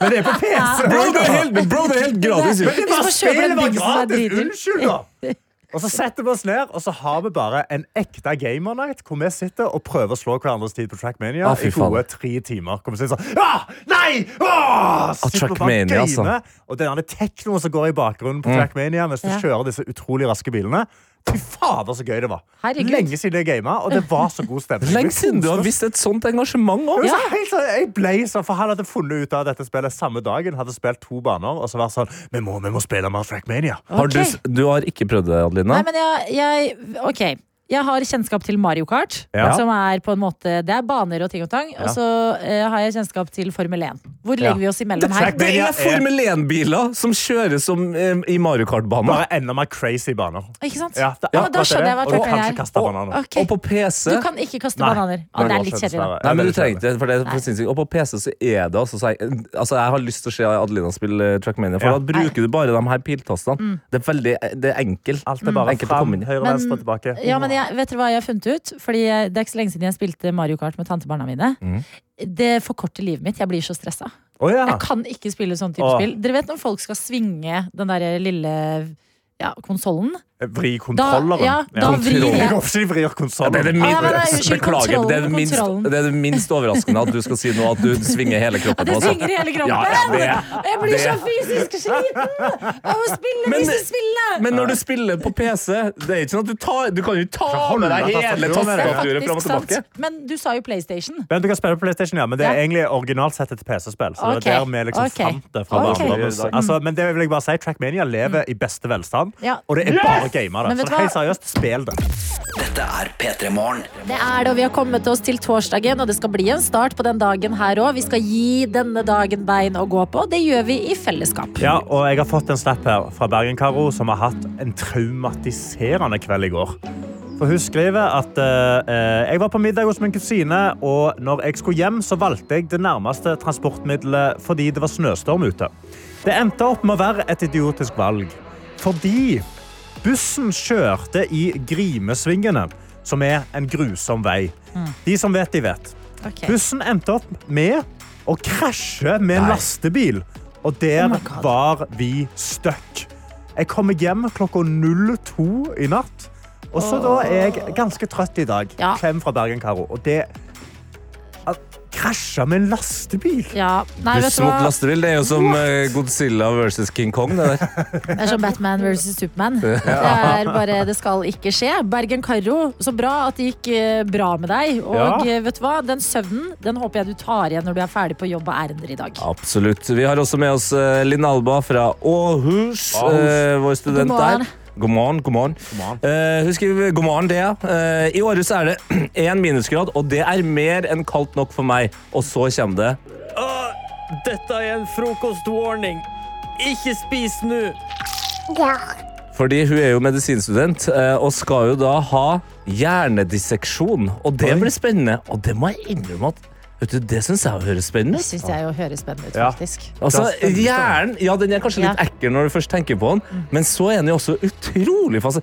S5: Men det er på PC!
S4: Bro, det er helt, bro, det er helt gratis! jo.
S5: Men det
S3: Hvis
S5: var
S3: man kjøper
S5: spillet
S3: en
S5: var
S3: bil som er
S5: gratis!
S3: dritdyr.
S5: Unnskyld, da! Og så setter vi oss ned, og så har vi bare en ekte gamer night hvor vi sitter og prøver å slå hverandres tid på Trackmania
S4: Ah, fy
S5: i gode
S4: faen.
S5: tre timer. Hvor vi sitter sånn ah, Nei! Ah! Så sitter vi bare og
S4: Trackmania, altså. Mm.
S5: gamer, Og den der teknoen som går i bakgrunnen på Trackmania mens du
S3: Ja.
S5: kjører disse utrolig raske bilene. Fy fader, så gøy det var.
S3: Herregud.
S5: Lenge siden jeg gama, og det var så god stemning.
S4: Lenge siden du har vist et sånt engasjement òg.
S5: Ja. Så helt sånn, jeg ble sånn, for Han hadde funnet ut av dette spillet samme dagen. Hadde spilt to baner og så var sånn Vi må, vi må spille mer Trackmania.
S4: Har du, s- du har ikke prøvd det, Adelina?
S3: Nei, men jeg, jeg Ok. Jeg har kjennskap til Mario Kart,
S5: Ja.
S3: som er på en måte Det er baner og ting og tang. Og så eh, har jeg kjennskap til Formel 1. Hvor
S5: Ja.
S3: legger vi oss imellom her?
S5: Track-
S4: Det er Formel 1-biler som kjøres som eh, i Mario Kart-baner.
S5: Bare enda mer crazy baner.
S3: Ikke sant?
S5: Ja, det er
S3: Ja,
S5: akkurat
S3: da skjønner jeg hva
S5: det. Og du
S3: Trackmania
S5: kan
S3: er. mm.
S5: ikke kaste bananer.
S3: Ok.
S4: Og på PC
S3: Du kan ikke kaste
S5: Nei.
S3: bananer. Å, det er litt kjedelig, da.
S5: Dessverre.
S4: Nei, men du trenger
S5: Det er litt kjedelig.
S4: ikke det, for det er for sinnssykt. Og på PC så er det altså, så jeg, altså Jeg har lyst til å se Adelina spille eh, Trackmania, for da
S5: Ja.
S4: bruker du bare de her piltastene.
S3: Mm.
S4: Det er veldig det er enkelt.
S5: Alt er bare
S4: Enkelt å
S5: fram,
S4: komme inn i.
S5: høyre,
S3: Men-
S5: venstre, tilbake.
S3: Ja, men jeg, vet dere hva jeg har funnet ut? Fordi eh, Det er ikke så lenge siden jeg spilte Mario Kart med tantebarna mine. Det forkorter livet mitt. Jeg blir så stressa.
S5: Å, Mm. ja.
S3: Jeg kan ikke spille sånn type
S5: Åh.
S3: spill. Dere vet når folk skal svinge den der lille ja, konsollen?
S5: Vri
S3: Da,
S5: kontrolleren.
S3: ja, da vrir
S4: Kontrollen.
S5: Jeg
S3: jeg.
S5: håper ikke de vrir
S4: Ja, det, er det,
S5: konsollen.
S4: min,
S3: Ja, men det er jo ikke
S4: beklager, det, er det,
S3: kontrollen,
S4: minst,
S3: kontrollen.
S4: det er det minst overraskende at du skal si nå at du svinger hele kroppen.
S3: Det
S4: på, altså.
S3: svinger i hele kroppen!
S4: Ja, ja, det-
S3: jeg blir så
S4: det-
S3: fysisk sliten av å spille
S4: Men-
S3: disse spillene!
S4: Men når du spiller på PC, det er ikke sånn at du, tar, du kan jo ikke ta
S5: holde
S4: med deg hele
S5: tastaturet med deg.
S4: tastaturet fram og
S3: Faktisk sant.
S4: tilbake.
S3: Men du sa jo PlayStation.
S5: Men du kan spille på PlayStation, ja, men det er
S3: Ja.
S5: egentlig originalt sett et PC-spill. Så
S3: Ok.
S5: det er der vi liksom
S3: Ok.
S5: fant det fra
S3: Ok. Mm.
S5: barndommen.
S4: Mm.
S5: Altså, men det vil jeg bare si, Trackmania lever i beste velstand,
S3: Ja.
S5: og det er bare gamer.
S3: Men
S5: det.
S3: vet du
S5: Så helt
S3: hva?
S5: seriøst, spill det.
S1: Dette er P3 Morgen.
S3: Det er det, og vi har kommet oss til torsdagen, og det skal bli en start på den dagen her òg. Vi skal gi denne dagen bein å gå på, og det gjør vi i fellesskap.
S5: Ja, og jeg har fått en snap her fra Bergen-Karo, som har hatt en traumatiserende kveld i går. For hun skriver at eh, eh, jeg var på middag hos min kusine, og når jeg skulle hjem, så valgte jeg det nærmeste transportmiddelet fordi det var snøstorm ute. Det endte opp med å være et idiotisk valg. Fordi bussen kjørte i Grimesvingene, som er en grusom vei. De som vet, de vet.
S3: Ok.
S5: Bussen endte opp med å krasje med en lastebil. Og
S3: Oh
S5: der var vi stuck. Jeg kommer hjem klokka 02 i natt. Og så da er jeg ganske trøtt i dag.
S3: Ja.
S5: Klem fra Bergen, Karo. Og det at Krasja med en lastebil!
S3: Ja. Nei, vet
S4: Buss
S3: du
S4: mot
S3: hva?
S4: lastebil, det er jo som eh, Godzilla versus King Kong. Det der.
S3: Det er som Batman versus Superman. Det er bare Det skal ikke skje. Bergen-Carro, så bra at det gikk eh, bra med deg. Og
S5: Ja.
S3: eh, vet du hva? Den søvnen den håper jeg du tar igjen når du er ferdig på jobb og ærender i dag.
S4: Absolutt. Vi har også med oss eh, Linn Alba fra Åhus, eh, vår student
S3: God morgen.
S4: der. God morgen. God morgen.
S5: morgen.
S4: Eh, hun skriver god morgen, Dea. Eh, I Århus er det én minusgrad, og det er mer enn kaldt nok for meg. Og så kommer det
S9: Dette er en frokostwarning. Ikke spis nå.
S4: Fordi hun er jo medisinstudent eh, og skal jo da ha hjernedisseksjon. Og det blir spennende. Og det må jeg innrømme at Vet du, Det syns jeg høres spennende
S3: Det
S4: ut.
S3: syns jeg jo høres spennende ut,
S5: Ja.
S3: faktisk.
S4: Altså,
S5: Det er spennende.
S4: Hjernen ja, den er kanskje litt
S3: Ja.
S4: ekkel når du først tenker på den, men så er den jo også utrolig fast.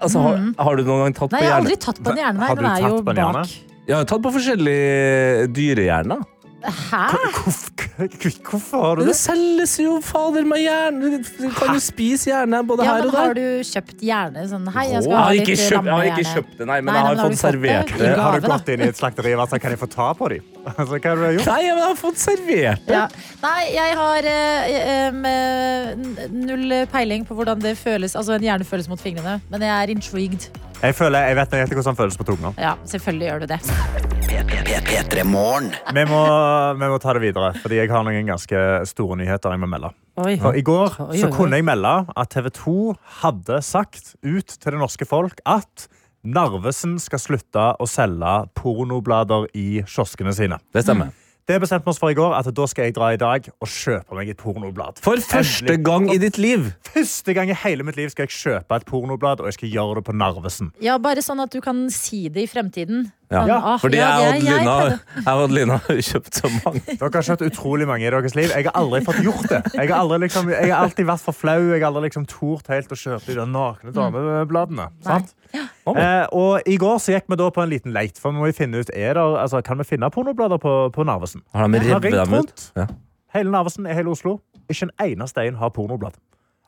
S4: Altså, har, har du noen gang tatt
S3: Mhm. Nei,
S4: på
S3: jeg har
S4: hjerne?
S3: aldri tatt på en hjerne. Nei,
S5: Har
S3: den
S5: du
S3: er jo
S5: tatt på en hjerne?
S3: bak.
S4: Jeg har tatt på forskjellige dyrehjerner.
S3: Hæ?
S5: Hvorf- Hvorfor har du
S4: Det
S5: det?
S4: selges jo fader meg hjerne. Du kan jo spise hjerne
S3: Ja,
S4: både her
S3: men
S4: og
S3: har
S4: der.
S3: du kjøpt hjerne? Sånn, hei, jeg skal
S4: Jeg
S3: ha
S4: har
S3: litt
S4: ikke kjøpt, jeg har
S3: lammehjerne.
S4: ikke kjøpt det, nei, men
S3: Nei,
S4: jeg har
S3: men
S4: fått
S3: har du fått
S4: servert
S3: det?
S4: det.
S3: I
S5: Har du
S3: gave,
S5: gått
S3: da.
S5: inn i et slakteri og vært sånn, kan jeg få ta på dem? Altså, hva har du gjort?
S4: Nei, men jeg har fått servert det.
S3: Ja. Nei, jeg har eh, em, eh, n- null peiling på hvordan det føles. Altså en hjerne føles mot fingrene. Men jeg er intrigued.
S5: Jeg føler, jeg vet nøyaktig hvordan det føles på tunga.
S3: Ja, selvfølgelig gjør du det.
S1: P3 Morgen.
S5: Vi må, vi må ta det videre, fordi jeg har noen ganske store nyheter jeg må melde.
S3: Oi.
S5: For I går
S3: Oi, oi,
S5: så
S3: oi.
S5: kunne jeg melde at TV 2 hadde sagt ut til det norske folk at Narvesen skal slutte å selge pornoblader i kioskene sine.
S4: Det
S3: Mm.
S4: stemmer.
S5: Det bestemte vi oss for i går, at da skal jeg dra i dag og kjøpe meg et pornoblad.
S4: For første
S5: Endelig.
S4: gang i ditt liv.
S5: Første gang i hele mitt liv skal jeg kjøpe et pornoblad, og jeg skal gjøre det på Narvesen.
S3: Ja, bare sånn at du kan si det i fremtiden. Sånn,
S4: Ja,
S3: ah,
S4: fordi jeg
S3: ja,
S4: og
S3: det er jeg
S4: Adelina
S3: pleide.
S4: jeg og Adelina har kjøpt så mange.
S5: Dere har kjøpt utrolig mange i deres liv. Jeg har aldri fått gjort det. Jeg har, aldri liksom, jeg har alltid vært for flau. Jeg har aldri liksom tort helt å kjøpe de der nakne damebladene. Sant? Eh, og I går så gikk vi da på en liten leit. For vi må jo finne ut, er der, altså, Kan vi finne pornoblader på, på Narvesen?
S4: Har de
S5: Jeg har
S4: revet
S5: ringt
S4: dem ut?
S5: rundt.
S4: Ja.
S5: Hele Narvesen er hele Oslo. Ikke en eneste en har pornoblad.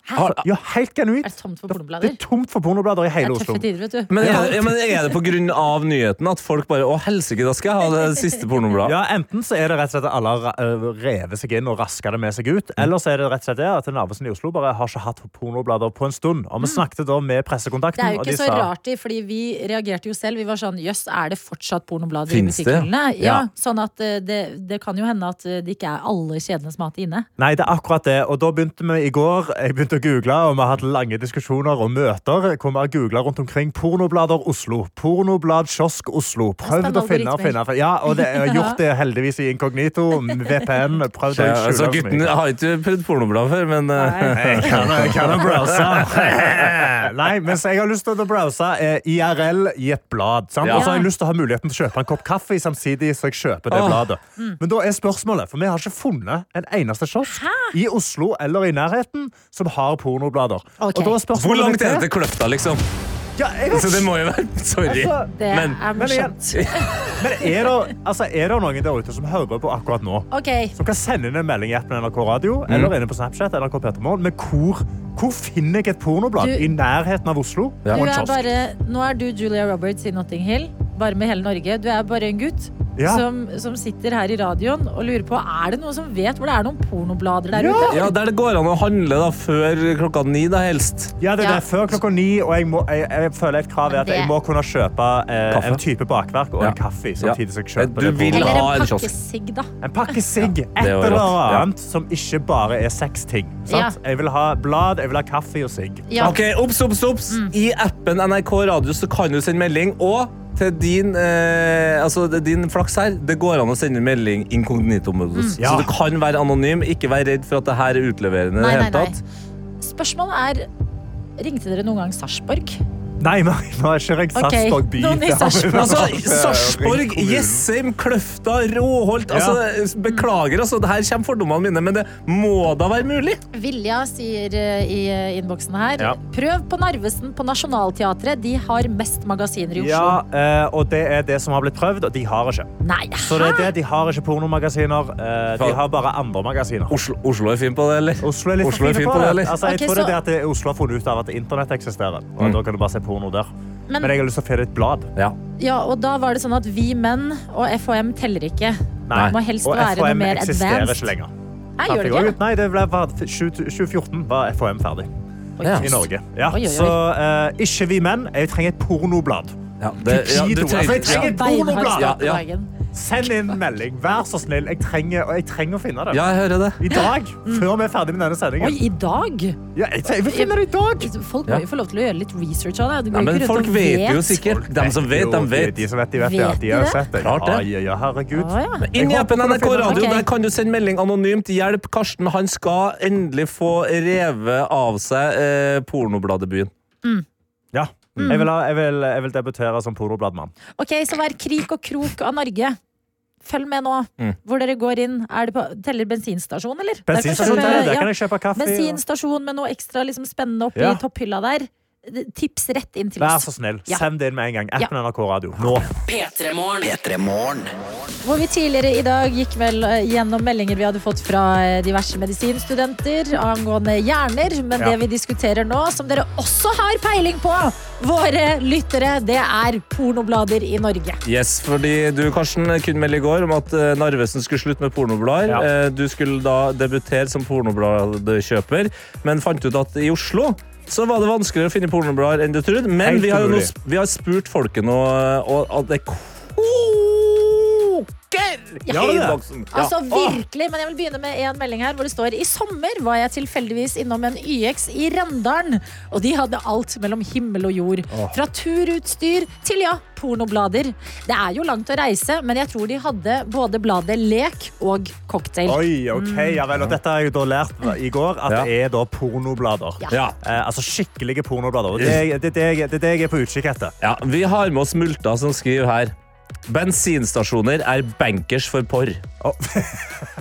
S4: Har,
S5: Ja, helt genuint.
S3: Er det tomt for
S5: Det
S3: pornoblader?
S5: er tomt for pornoblader i
S3: Det
S5: hele
S3: er
S5: Oslo.
S3: tøffe tider, vet du.
S4: men er, ja, men er det på grunn av nyheten at folk bare Å, helsike, da skal jeg ha det siste pornobladet?
S5: Ja, Enten så er det rett og slett at alle har ra- øh, revet seg inn og raska det med seg ut.
S3: Mm.
S5: Eller så er det rett og slett det at Narvesen i Oslo bare har ikke hatt pornoblader på en stund. Og vi snakket da med
S3: Mm. Det
S5: pressekontakten.
S3: er jo
S5: og
S3: ikke
S5: de
S3: så
S5: sa-
S3: rart, i, fordi vi reagerte jo selv. Vi var sånn jøss, er det fortsatt pornoblader i
S4: Finnes det?
S3: butikkhyllene? Ja,
S4: Ja.
S3: sånn at eh, det, det kan jo hende at eh, det ikke er alle kjedenes mat inne.
S5: Nei, det er akkurat det. Og da begynte vi i går Jeg begynte å google, og vi har hatt lange diskusjoner og møter hvor vi har googla rundt omkring Pornoblader Oslo. Pornoblad kiosk Oslo. Prøvd å
S3: Spennende
S5: finne og finne.
S3: algoritmer.
S5: Ja, og det, jeg har gjort det heldigvis i inkognito. VPN. Prøvd å
S4: Ja,
S5: skjule
S4: altså,
S5: det så mye.
S4: gutten jeg har ikke prøvd pornoblad før, men eh,
S5: Jeg kan, jeg kan å browse. Nei, men så jeg har lyst til å browse eh, IRL i et blad. Sant?
S4: Ja.
S5: Og så har jeg lyst til å ha muligheten til å kjøpe en kopp kaffe samtidig så jeg kjøper det
S4: Åh. Mm.
S5: bladet. Men da er spørsmålet, for vi har ikke funnet en eneste kiosk i Oslo eller i nærheten som har pornoblader.
S3: Ok.
S5: Og da er spørsmålet
S4: hvor langt er
S5: mitt
S4: det til Kløfta, liksom?
S5: Ja, jeg vet
S4: Så det
S5: ikke.
S4: må jo være Sorry.
S5: Altså,
S3: Det
S4: Men-
S3: er
S5: men igjen-
S3: morsomt.
S5: Men er det, altså, er det noen der ute som hører på akkurat nå?
S3: Ok,
S5: Som kan sende inn en melding i appen NRK Radio
S4: Mm.
S5: eller inne på Snapchat NRK Petermorgen med hvor, hvor finner jeg et pornoblad
S3: Du-
S5: i nærheten av Oslo?
S4: Ja.
S3: du
S5: Og en
S3: er
S5: kiosk.
S3: bare, nå er du Julia Roberts i Notting Hill, bare med hele Norge. Du er bare en gutt
S5: Ja.
S3: som, som sitter her i radioen og lurer på er det noen som vet hvor det er noen pornoblader der
S5: Ja.
S3: ute.
S4: Ja, Der det går an å handle da før klokka ni, da helst.
S5: Ja, det er
S3: Ja.
S5: det. Før klokka ni, og jeg, må, jeg, jeg føler et krav er at
S3: det-
S5: jeg må kunne kjøpe eh,
S4: Kaffe.
S5: en type bakverk og
S4: Ja.
S5: en kaffe
S4: Ja.
S5: samtidig som jeg kjøper
S4: Du
S5: det
S4: vil
S5: bordet.
S4: ha-
S3: Eller
S4: en
S3: en
S4: kiosk.
S3: pakke sigg, da.
S5: En pakke sigg, et
S4: Det er jo
S5: eller
S4: rått. Ja.
S5: annet som ikke bare er seks ting. Sant? Jeg vil ha blad, jeg vil ha kaffe og sigg.
S3: Ja. Mm.
S4: Ok, Obs, obs, obs! I appen NRK Radio så kan du sende melding. Og til din, eh, altså, det- din flaks her, det går an å sende melding
S3: Mm.
S4: inkognito-modus.
S5: Ja.
S4: Så du kan være anonym. Ikke vær redd for at det her er utleverende.
S3: Nei,
S4: i det
S3: nei,
S4: hele
S3: nei.
S4: tatt.
S3: Spørsmålet er Ringte dere noen gang Sarpsborg?
S5: Nei, nei, nå har jeg ikke ringt
S3: Ok,
S5: Sarpsborg by.
S3: noen i
S5: Det har vi-
S4: Men Altså,
S5: det har vi
S4: Sarpsborg,
S5: ringt kommunen.
S4: Jessheim, Kløfta, Råholt altså, Beklager, altså. Det her kommer fordommene mine, men det må da være mulig?
S3: Vilja sier eh, i eh, innboksen her
S5: Ja.
S3: Prøv på Narvesen på Nationaltheatret. De har mest magasiner i Oslo.
S5: Ja, eh, og det er det som har blitt prøvd, og de har ikke.
S3: Nei,
S5: Så det er det, de har ikke pornomagasiner. eh, De har bare andre magasiner.
S4: Oslo, Oslo er fin på det, eller?
S5: Oslo er litt
S4: Oslo er
S5: for fine
S4: fin
S5: på det.
S4: eller?
S5: Altså, jeg
S3: Ok,
S5: tror det er
S3: så-
S5: det at det- Oslo har funnet ut av at internett eksisterer.
S4: Mm.
S5: Og Da kan du bare se porno der. Men,
S3: Men-
S5: jeg har lyst til å finne et blad.
S4: Ja.
S3: Ja, og da var det sånn at vi menn og FHM teller ikke.
S5: Nei.
S3: Det må helst
S5: Og
S3: være noe
S5: FHM
S3: mer
S5: eksisterer
S3: advanced.
S5: ikke lenger.
S3: Nei, gjør det
S5: Fant jeg
S3: ikke
S5: ut. Nei, det ble, var, 20, 2014 var FHM ferdig
S4: Ja.
S5: i Norge. Ja.
S3: Oi, oi, oi.
S5: Så eh, ikke vi menn. Jeg trenger et pornoblad.
S4: Ja, det- ja, du
S5: Cupido. Altså, jeg
S4: trenger-
S5: trenger et pornoblad!
S4: Ja, ja.
S5: Send inn melding. Vær så snill. Jeg trenger, og jeg trenger å finne det.
S4: ja, jeg hører det.
S5: I dag, før vi er ferdig med
S3: Mm. Oi,
S5: denne sendingen.
S3: i dag?
S5: Ja, jeg, jeg vil finne det i dag!
S3: Folk
S4: Ja.
S3: må jo få lov til å gjøre litt research av det. Du går
S4: Nei,
S3: jo
S4: men
S3: ikke rundt
S4: folk
S3: og
S4: vet jo sikkert. De som vet, de vet.
S5: De som vet, de vet.
S3: Vet
S5: de
S3: de
S5: har
S3: det?
S5: sett det.
S4: Klart det.
S5: Ja, ja, ja, herregud.
S3: Å, ja.
S4: Inn i
S5: Jeg
S4: appen
S5: håper det
S4: NRK
S5: finner-
S4: Radio.
S3: Ok.
S4: Der kan du sende melding anonymt. Hjelp Karsten. Han skal endelig få revet av seg eh, pornobladebyen.
S5: Ja.
S3: Mm.
S5: Jeg, vil ha, jeg, vil, jeg vil debutere som porobladmann.
S3: Ok, så vær krik og krok av Norge. Følg med nå,
S4: Mm.
S3: hvor dere går inn. Er det på, teller bensinstasjon, eller? Der kan
S5: Bensinstasjon
S3: du-
S5: der, der
S3: ja.
S5: kan jeg kjøpe kaffe. og-
S3: Bensinstasjon med noe ekstra liksom, spennende oppi
S5: Ja.
S3: topphylla der. tips rett inn til
S5: Vær
S3: oss.
S5: så snill,
S3: Ja.
S5: send det inn med en gang. Appen NRK Radio. Nå.
S2: P3morgen.
S1: P3morgen.
S3: Hvor vi tidligere i dag gikk vel eh, gjennom meldinger vi hadde fått fra eh, diverse medisinstudenter angående hjerner, men
S5: Ja.
S3: det vi diskuterer nå, som dere også har peiling på, våre lyttere, det er pornoblader i Norge.
S4: Yes, fordi du, Karsten, kunne melde i går om at eh, Narvesen skulle slutte med pornoblader.
S5: Ja.
S4: Eh, Du skulle da debutere som pornobladkjøper, men fant ut at i Oslo så var det vanskeligere å finne pornoblader enn du trodde. Men
S5: Helt
S4: vi har, jo nå,
S5: umulig.
S4: sp- vi har spurt folket nå, eh, og at det koker
S5: Ja, det er det.
S4: innboksen. Ja.
S3: Altså virkelig, men jeg vil begynne med en melding her hvor det står I sommer var jeg tilfeldigvis innom en YX i Rendalen, og de hadde alt mellom himmel og jord. Fra turutstyr til ja, pornoblader. Det er jo langt å reise, men jeg tror de hadde både bladet lek og cocktail.
S5: Oi, ok,
S3: Mm.
S5: ja vel. Og dette har jeg jo da lært i går, at
S4: Ja.
S5: det er da pornoblader.
S3: Ja.
S4: Ja.
S5: Eh, altså skikkelige pornoblader. Og det, er- det, er det, jeg- det er det jeg er på utkikk etter.
S4: ja, vi har med oss Multa som skriver her. Bensinstasjoner er bankers for porr.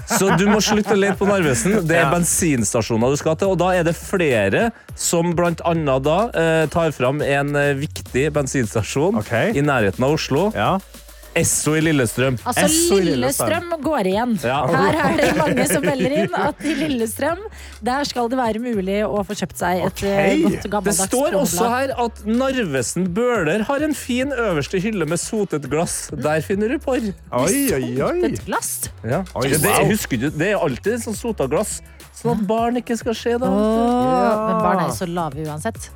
S4: Så du må slutte å lete på Narvesen. Det er
S5: Ja.
S4: bensinstasjoner du skal til. Og da er det flere som blant annet da eh, tar fram en eh, viktig bensinstasjon
S5: Ok.
S4: i nærheten av Oslo.
S5: Ja.
S4: Esso i Lillestrøm.
S3: Altså,
S5: SO i Lillestrøm.
S3: Lillestrøm går igjen.
S4: Ja.
S3: Her er det mange som melder inn at i Lillestrøm der skal det være mulig å få kjøpt seg et eh, godt
S4: Det
S3: gammeldags
S4: står også
S3: pornoblad.
S4: her at Narvesen Bøhler har en fin øverste hylle med sotet glass. Der finner du porr.
S5: Oi, oi, oi.
S3: Et glass.
S4: Ja.
S5: Oi,
S4: det,
S5: wow.
S4: husker du, det er alltid sånn sota glass, sånn at barn ikke skal se
S3: Åh,
S4: det.
S3: Men barn er jo så lave uansett.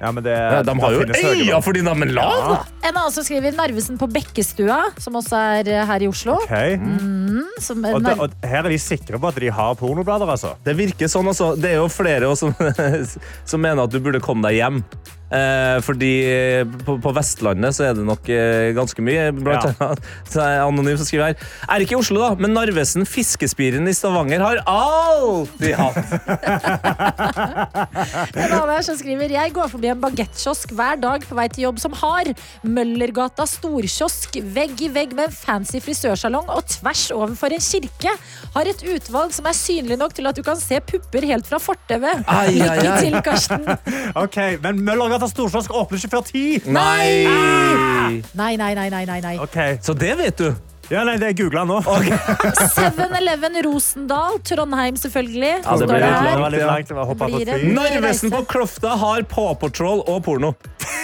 S5: Ja, men det,
S4: Ja, de har jo
S5: det finnes
S4: øyne
S5: høyere.
S4: fordi de er lave! da.
S3: En annen som skriver Narvesen på Bekkestua, som også er eh, her i Oslo.
S5: Ok.
S3: Mm, Som
S5: Og, da-
S3: Narv-
S5: og her er de sikre på at de har pornoblader, altså.
S4: Det virker sånn, altså. Det er jo flere også som, som mener at du burde komme deg hjem. Eh, fordi på, på Vestlandet så er det nok eh, ganske mye. Blant
S5: Ja.
S4: annet så er det anonym som skriver her. Er ikke i Oslo, da, men Narvesen Fiskespiren i Stavanger har alltid hatt.
S3: En annen her som skriver Jeg går forbi en bagettkiosk hver dag på vei til jobb som har Møllergata storkiosk vegg i vegg med en fancy frisørsalong og tvers overfor en kirke. Har et utvalg som er synlig nok til at du kan se pupper helt fra fortauet.
S4: Ai, ai,
S3: Lykke
S4: ai.
S3: til, Karsten.
S5: Ok, Men Møllergata storkiosk åpner ikke før ti!
S4: Nei!
S3: Nei, nei, nei, nei, nei. nei.
S5: Ok.
S4: Så det vet du.
S5: Ja, nei, det googla nå.
S3: 7-Eleven Rosendal, Trondheim selvfølgelig.
S4: Ja, det
S3: Står
S4: blir
S5: Det
S3: det her.
S4: litt
S5: var langt, litt langt. Jeg var hoppet
S3: Blir
S5: på
S3: det?
S5: fly.
S4: Narvesen på Klofta har Paw Patrol og porno.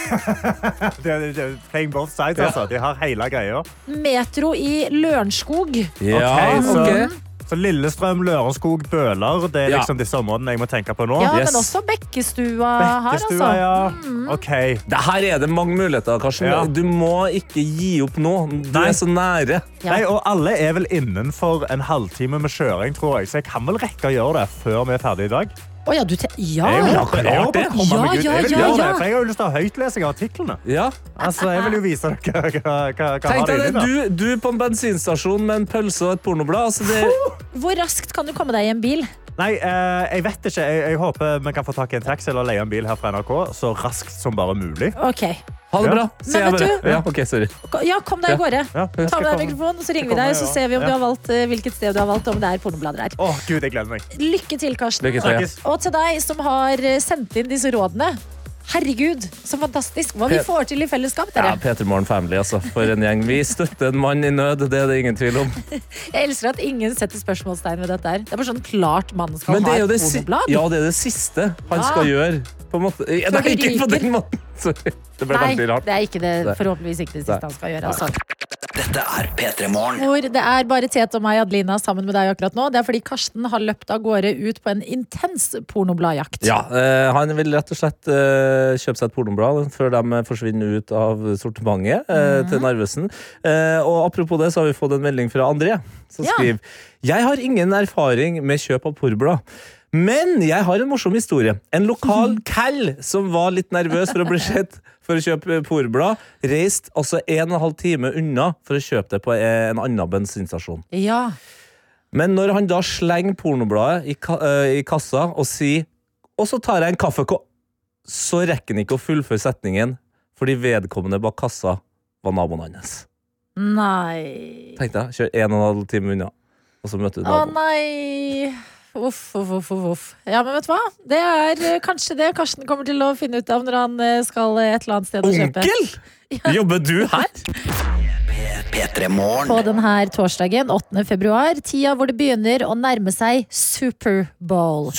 S5: Det, det, det, playing both sides, altså. De har hele greia.
S3: Metro i Lørenskog.
S5: Ok, så,
S4: ok.
S5: så Lillestrøm, Lørenskog, Bøler Det er
S4: Ja.
S5: liksom disse områdene jeg må tenke på nå.
S3: Ja,
S4: Yes.
S3: men også Bekkestua, her, altså.
S5: Bekkestua, ja. OK.
S4: Det her er det mange muligheter, Karsten.
S5: Ja.
S4: Du må ikke gi opp nå. Du
S5: Nei.
S4: er så nære.
S3: Ja.
S5: Nei, og alle er vel innenfor en halvtime med kjøring, tror jeg. Så jeg kan vel rekke å gjøre det før vi er ferdige i dag.
S3: Å ja, du te ja.
S5: Jeg
S4: Ja,
S5: må, jeg må
S4: klart det.
S5: bare komme
S3: Ah, Ja,
S5: meg ut.
S3: ja,
S5: Jeg vil
S3: ja,
S5: gjøre det,
S3: ja.
S5: for jeg har jo lyst til å ha høytlesing av artiklene.
S4: Ja.
S5: Altså, jeg vil jo vise dere hva, hva, hva, hva
S4: Tenk
S5: har det
S4: deg
S5: inni
S4: det, du,
S5: der.
S4: du på en bensinstasjon med en pølse og et pornoblad. Altså det,
S3: Hvor raskt kan du komme deg i en bil?
S5: Nei, eh, jeg vet ikke. Jeg, jeg håper vi kan få tak i en taxi eller leie en bil her fra NRK så raskt som bare mulig.
S3: Ok.
S4: ha det
S5: Ja.
S4: bra, sier
S3: Men
S4: jeg
S3: vet du-
S4: bare. Ja, ok, sorry.
S3: Ko- Ja, kom deg av gårde.
S5: Ja, jeg
S3: Ta
S5: skal
S3: med deg
S5: komme.
S3: mikrofonen, så ringer vi
S5: kommer,
S3: deg, så
S5: ja.
S3: ser vi om
S5: Ja.
S3: du har valgt eh, hvilket sted du har valgt, om det er pornoblader her.
S5: Å, gud, jeg gleder meg.
S3: Lykke til, Karsten.
S4: Lykke til.
S5: Snakkes.
S3: Og til deg som har eh, sendt inn disse rådene. Herregud, så fantastisk. Hva vi
S4: Pet-
S3: får til i fellesskap,
S4: Ja,
S3: dere.
S4: Peter Morn Family, altså. For en gjeng. Vi støtter en mann i nød, det er det ingen tvil om.
S3: Jeg elsker at ingen setter spørsmålstegn ved dette her. Det er bare sånn klart man skal
S4: Men det
S3: ha
S4: er jo
S3: et
S4: det, si
S3: pornoblad. Ah.
S4: ja, det, er det siste han
S3: Ja.
S4: skal gjøre. På en måte. Ja,
S3: Så
S4: Nei, ikke
S3: ryker.
S4: på den måten. Sorry. Det ble
S3: Nei,
S4: veldig rart.
S3: det er ikke det,
S4: Nei.
S3: forhåpentligvis ikke det siste
S4: Nei.
S3: han skal gjøre. Altså.
S1: Dette er P3morgen.
S3: Hvor det er bare Tete og meg Adelina sammen med deg akkurat nå. Det er fordi Karsten har løpt av gårde ut på en intens pornobladjakt.
S4: Ja, eh, Han vil rett og slett eh, kjøpe seg et pornoblad før de eh, forsvinner ut av sortimentet eh, til Narvesen. Eh, og Apropos det, så har vi fått en melding fra André, som
S3: Ja.
S4: skriver Jeg har ingen erfaring med kjøp av pornoblad. Men jeg har en morsom historie. En lokal cal som var litt nervøs for å bli sett for å kjøpe porblad, reiste altså en og en halv time unna for å kjøpe det på eh, en annen bensinstasjon.
S3: Ja.
S4: Men når han da slenger pornobladet i, ka eh, i kassa og sier Og så tar jeg en kaffekopp Så rekker han ikke å fullføre setningen fordi vedkommende bak kassa var naboen hans.
S3: Nei
S4: Tenkte jeg, Kjør en og en halv time unna, og så møter du
S3: Å
S4: naboen.
S3: nei. Uff, uff, uff, uff, uff. Ja, men vet du hva? Det er eh, kanskje det Karsten kommer til å finne ut av når han eh, skal eh, et eller annet sted og kjøpe.
S4: Onkel? Jobber du her?
S1: P3
S3: På
S1: Morgen.
S3: denne torsdagen, 8. februar, tida hvor det begynner å nærme seg Superbowl.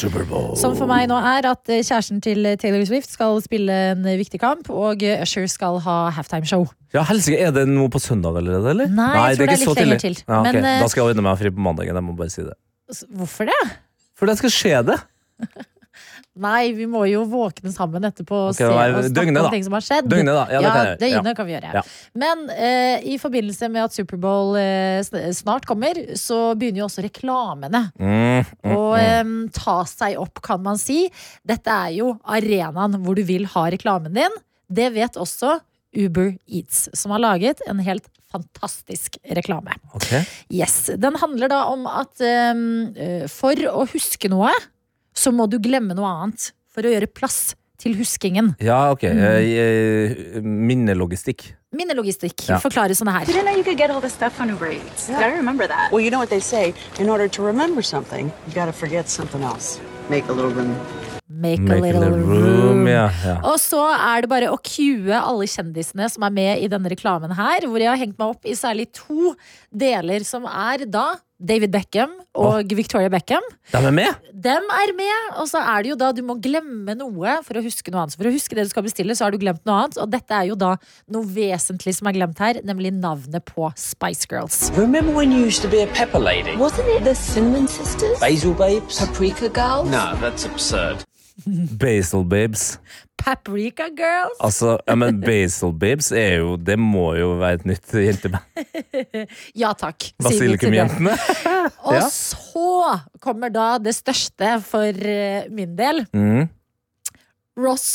S3: Som for meg nå er at eh, kjæresten til Taylor Swift skal spille en eh, viktig kamp, og eh, Usher skal ha halftimeshow.
S4: Ja, helsike, Er det noe på søndag allerede, eller?
S3: Nei, jeg tror det er litt lenger til.
S4: Ja, ok.
S3: Men, eh,
S4: Da skal jeg ordne meg fri på mandagen. jeg må bare si det.
S3: S- Hvorfor det?
S4: For det skal skje, det.
S3: Nei, vi må jo våkne sammen etterpå og
S4: Ok,
S3: se
S4: nei,
S3: og snakke
S4: døgnet,
S3: om
S4: da.
S3: ting som har skjedd.
S4: Døgnet, da. Ja, det kan jeg gjøre. Ja.
S3: døgnet kan vi gjøre.
S4: Ja.
S3: Men eh, i forbindelse med at Superbowl eh, sn- snart kommer, så begynner jo også reklamene
S4: Mm,
S3: å eh, ta seg opp, kan man si. Dette er jo arenaen hvor du vil ha reklamen din. Det vet også Uber Eats, som har laget en helt fantastisk reklame.
S4: ok.
S3: Yes. Den handler da om at ehm, eh, for å huske noe, så må du glemme noe annet. For å gjøre plass til huskingen.
S4: Ja, ok.
S3: Mm.
S4: Eh, eh, Minnelogistikk.
S3: Minnelogistikk
S4: Ja.
S3: forklarer sånn her.
S10: didn't know you could get all this stuff on Uber Eats. Gotta remember that.
S11: Well, you know what they say in order to remember something, you gotta forget something else. Make a little room.
S3: Make, a
S4: Make
S3: little room.
S4: Ja, ja.
S3: Og så er det bare å cue alle kjendisene som er med i denne reklamen her, hvor jeg har hengt meg opp i særlig to deler, som er da David Beckham og Victoria Beckham.
S4: De er med!
S3: Dem er med, og så er det jo da du må glemme noe for å huske noe annet. Så For å huske det du skal bestille, så har du glemt noe annet. Og dette er jo da noe vesentlig som er glemt her, nemlig navnet på Spice Girls.
S1: Remember when you used to be a pepper lady?
S10: Wasn't it the Cinnamon Sisters?
S1: Basil babes?
S10: Paprika Girls?
S6: No, that's absurd.
S4: Basil Babes.
S3: Paprika Girls!
S4: Altså, ja, men Basil Babes er jo Det må jo være et nytt jenteband.
S3: Ja takk. sier vi til det.
S4: Basilikumjentene.
S3: Og
S4: Ja.
S3: så kommer da det største for eh, min del.
S4: Mm.
S3: Ross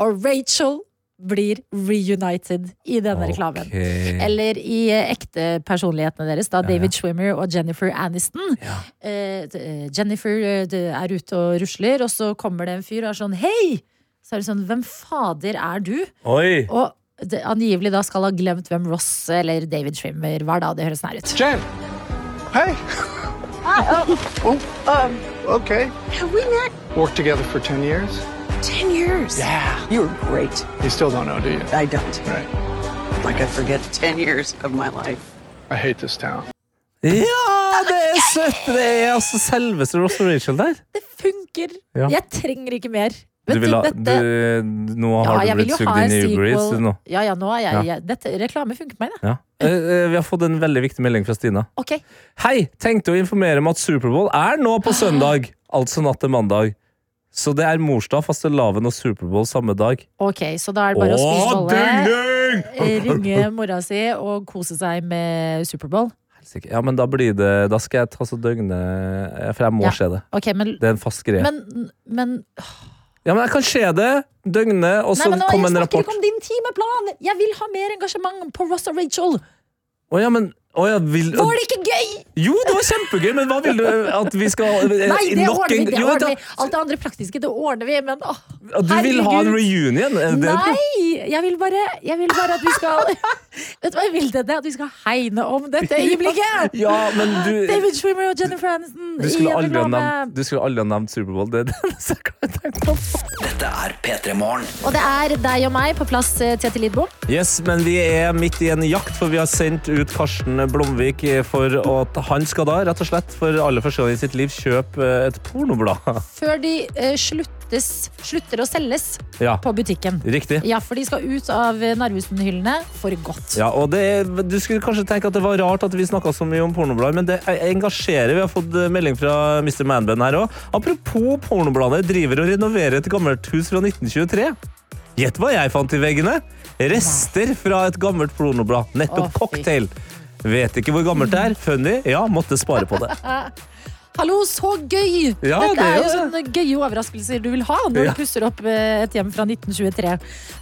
S3: og Rachel blir reunited i denne reklamen.
S4: Ok.
S3: Eller i eh, ekte personlighetene deres, da David Schwimmer og Jennifer Aniston. Eh, d- eh, Jennifer eh, d- er ute og rusler, og så kommer det en fyr og er sånn Hei! Så er det sånn Hvem fader er du?
S4: Oi!
S3: Og det, angivelig da skal ha glemt hvem Ross eller David Schwimmer var da. Det høres sånn her ut.
S6: Jen! Hey! oh, um, okay.
S10: Have we met?
S6: Worked together for 10 years?
S10: Ten years.
S6: Yeah.
S11: You're great.
S6: You still don't know, do you?
S11: I don't.
S6: Right.
S11: Like I forget 10 years of my life.
S6: I hate this town.
S4: Ja, det er søtt! Det er altså selveste Ross og Rachel der.
S3: Det funker!
S4: Ja.
S3: Jeg trenger ikke mer.
S4: Du
S3: Vet
S4: vil ha,
S3: dette-
S4: du, nå har
S3: jeg vil
S4: du blitt
S3: jo
S4: sugd
S3: ha en
S4: inn i Uber Eats.
S3: sequel.
S4: du, Nå.
S3: Ja, ja, nå er jeg,
S4: Ja.
S3: jeg dette, Reklame funker på meg, det.
S4: Ja. Eh, eh, Vi har fått en veldig viktig melding fra Stina.
S3: Ok.
S4: Hei! Tenkte å informere om at Superbowl er nå på søndag, altså natt til mandag. Så det er morsdag, fastelavn og Superbowl samme dag.
S3: Ok, så da er det bare å spise bolle, Eh.
S4: døgning!
S3: ringe mora si og kose seg med Superbowl.
S4: Helsike. Ja, men da blir det Da skal jeg ta så døgne ja, For jeg må
S3: Ja.
S4: se det.
S3: Ok, men,
S4: Det er en fast greie.
S3: men, men
S4: ja, men jeg kan se det døgne, og så
S3: Nei, men nå,
S4: kom
S3: jeg
S4: en
S3: snakker
S4: rapport.
S3: ikke om din timeplan! Jeg vil ha mer engasjement på Ross og Rachel!
S4: Å ja, men å, ja, vil,
S3: Var det ikke gøy?!
S4: Jo, det var kjempegøy, men hva vil du at vi skal eh,
S3: Nei, det
S4: nok en-
S3: ordner vi! det
S4: Jo,
S3: ordner
S4: da-
S3: vi Alt det andre praktiske, det ordner vi, men åh,
S4: at Du vil ha en
S3: herregud.
S4: reunion? Er det det du-
S3: Nei! Jeg vil bare, jeg vil bare at vi skal Vet du hva jeg vil, Tete? At vi skal hegne om dette øyeblikket!
S4: Ja, men du
S3: David Schwimmer og Jennifer Aniston
S4: du
S3: i
S4: skulle,
S3: en
S4: aldri ha
S3: reklame.
S4: nevnt, du skulle aldri ha nevnt Superbowl. Det er det eneste jeg kan tenke på.
S1: Dette er P3 Morgen.
S3: Og det er deg og meg på plass, eh, Tete Lidbom.
S4: Yes, men vi er midt i en jakt, for vi har sendt ut Karsten Blomvik for at han skal da, rett og slett, for aller første gang i sitt liv, kjøpe eh, et pornoblad.
S3: Før de eh, sluttes, slutter å selges
S4: Ja,
S3: på butikken.
S4: riktig.
S3: Ja, for de skal ut av eh, Narvesen-hyllene for godt.
S4: Ja, og det, er- Du skulle kanskje tenke at det var rart at vi snakka så mye om pornoblader, men det engasjerer. Vi har fått eh, melding fra Mr. Manband her òg. Apropos pornobladet, driver og renoverer et gammelt hus fra 1923. Gjett hva jeg fant i veggene? Rester fra et gammelt pornoblad. Nettopp
S3: Å, fy.
S4: cocktail. Vet ikke hvor gammelt det er. Funny? Ja, måtte spare på det.
S3: Hallo, så gøy!
S4: Ja,
S3: Dette
S4: det
S3: er jo
S4: er
S3: sånne gøye overraskelser du vil ha når
S4: Ja.
S3: du pusser opp eh, et hjem fra 1923.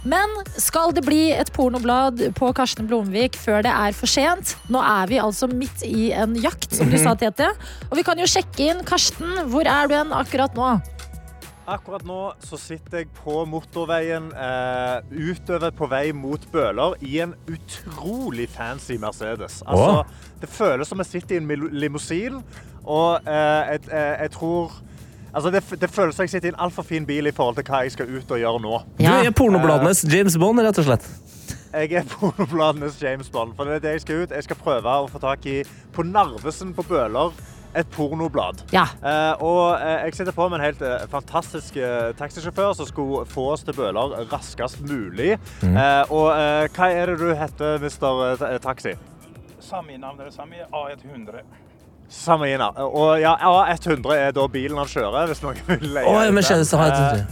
S3: Men skal det bli et pornoblad på Karsten Blomvik før det er for sent? Nå er vi altså midt i en
S4: Mhm.
S3: jakt, som du sa, Tete. Og vi kan jo sjekke inn. Karsten, hvor er du hen akkurat nå?
S5: Akkurat nå så sitter jeg på motorveien eh, utover på vei mot Bøler i en utrolig fancy Mercedes. Altså,
S4: Åh.
S5: det føles som jeg sitter i en mil- limousin, og eh, jeg, eh, jeg tror Altså, det, f- det føles som jeg sitter i en altfor fin bil i forhold til hva jeg skal ut og gjøre nå.
S4: Du er pornobladenes James Bond, rett og slett.
S5: Jeg er pornobladenes James Bond, for det er det jeg skal ut. Jeg skal prøve å få tak i på Narvesen på Bøler et pornoblad.
S3: Ja.
S5: Eh, og eh, jeg sitter på med en helt eh, fantastisk eh, taxisjåfør som skulle få oss til Bøler raskest mulig.
S12: Mhm.
S5: Eh, og eh, hva er det du heter, mister eh, ta- taxi?
S12: Sami navn er det samme. A100.
S5: Samina. Og ja, A100 er da bilen han kjører, hvis noen vil leie.
S4: Å, ja, men
S5: den.
S4: kjennes det her
S5: Eh,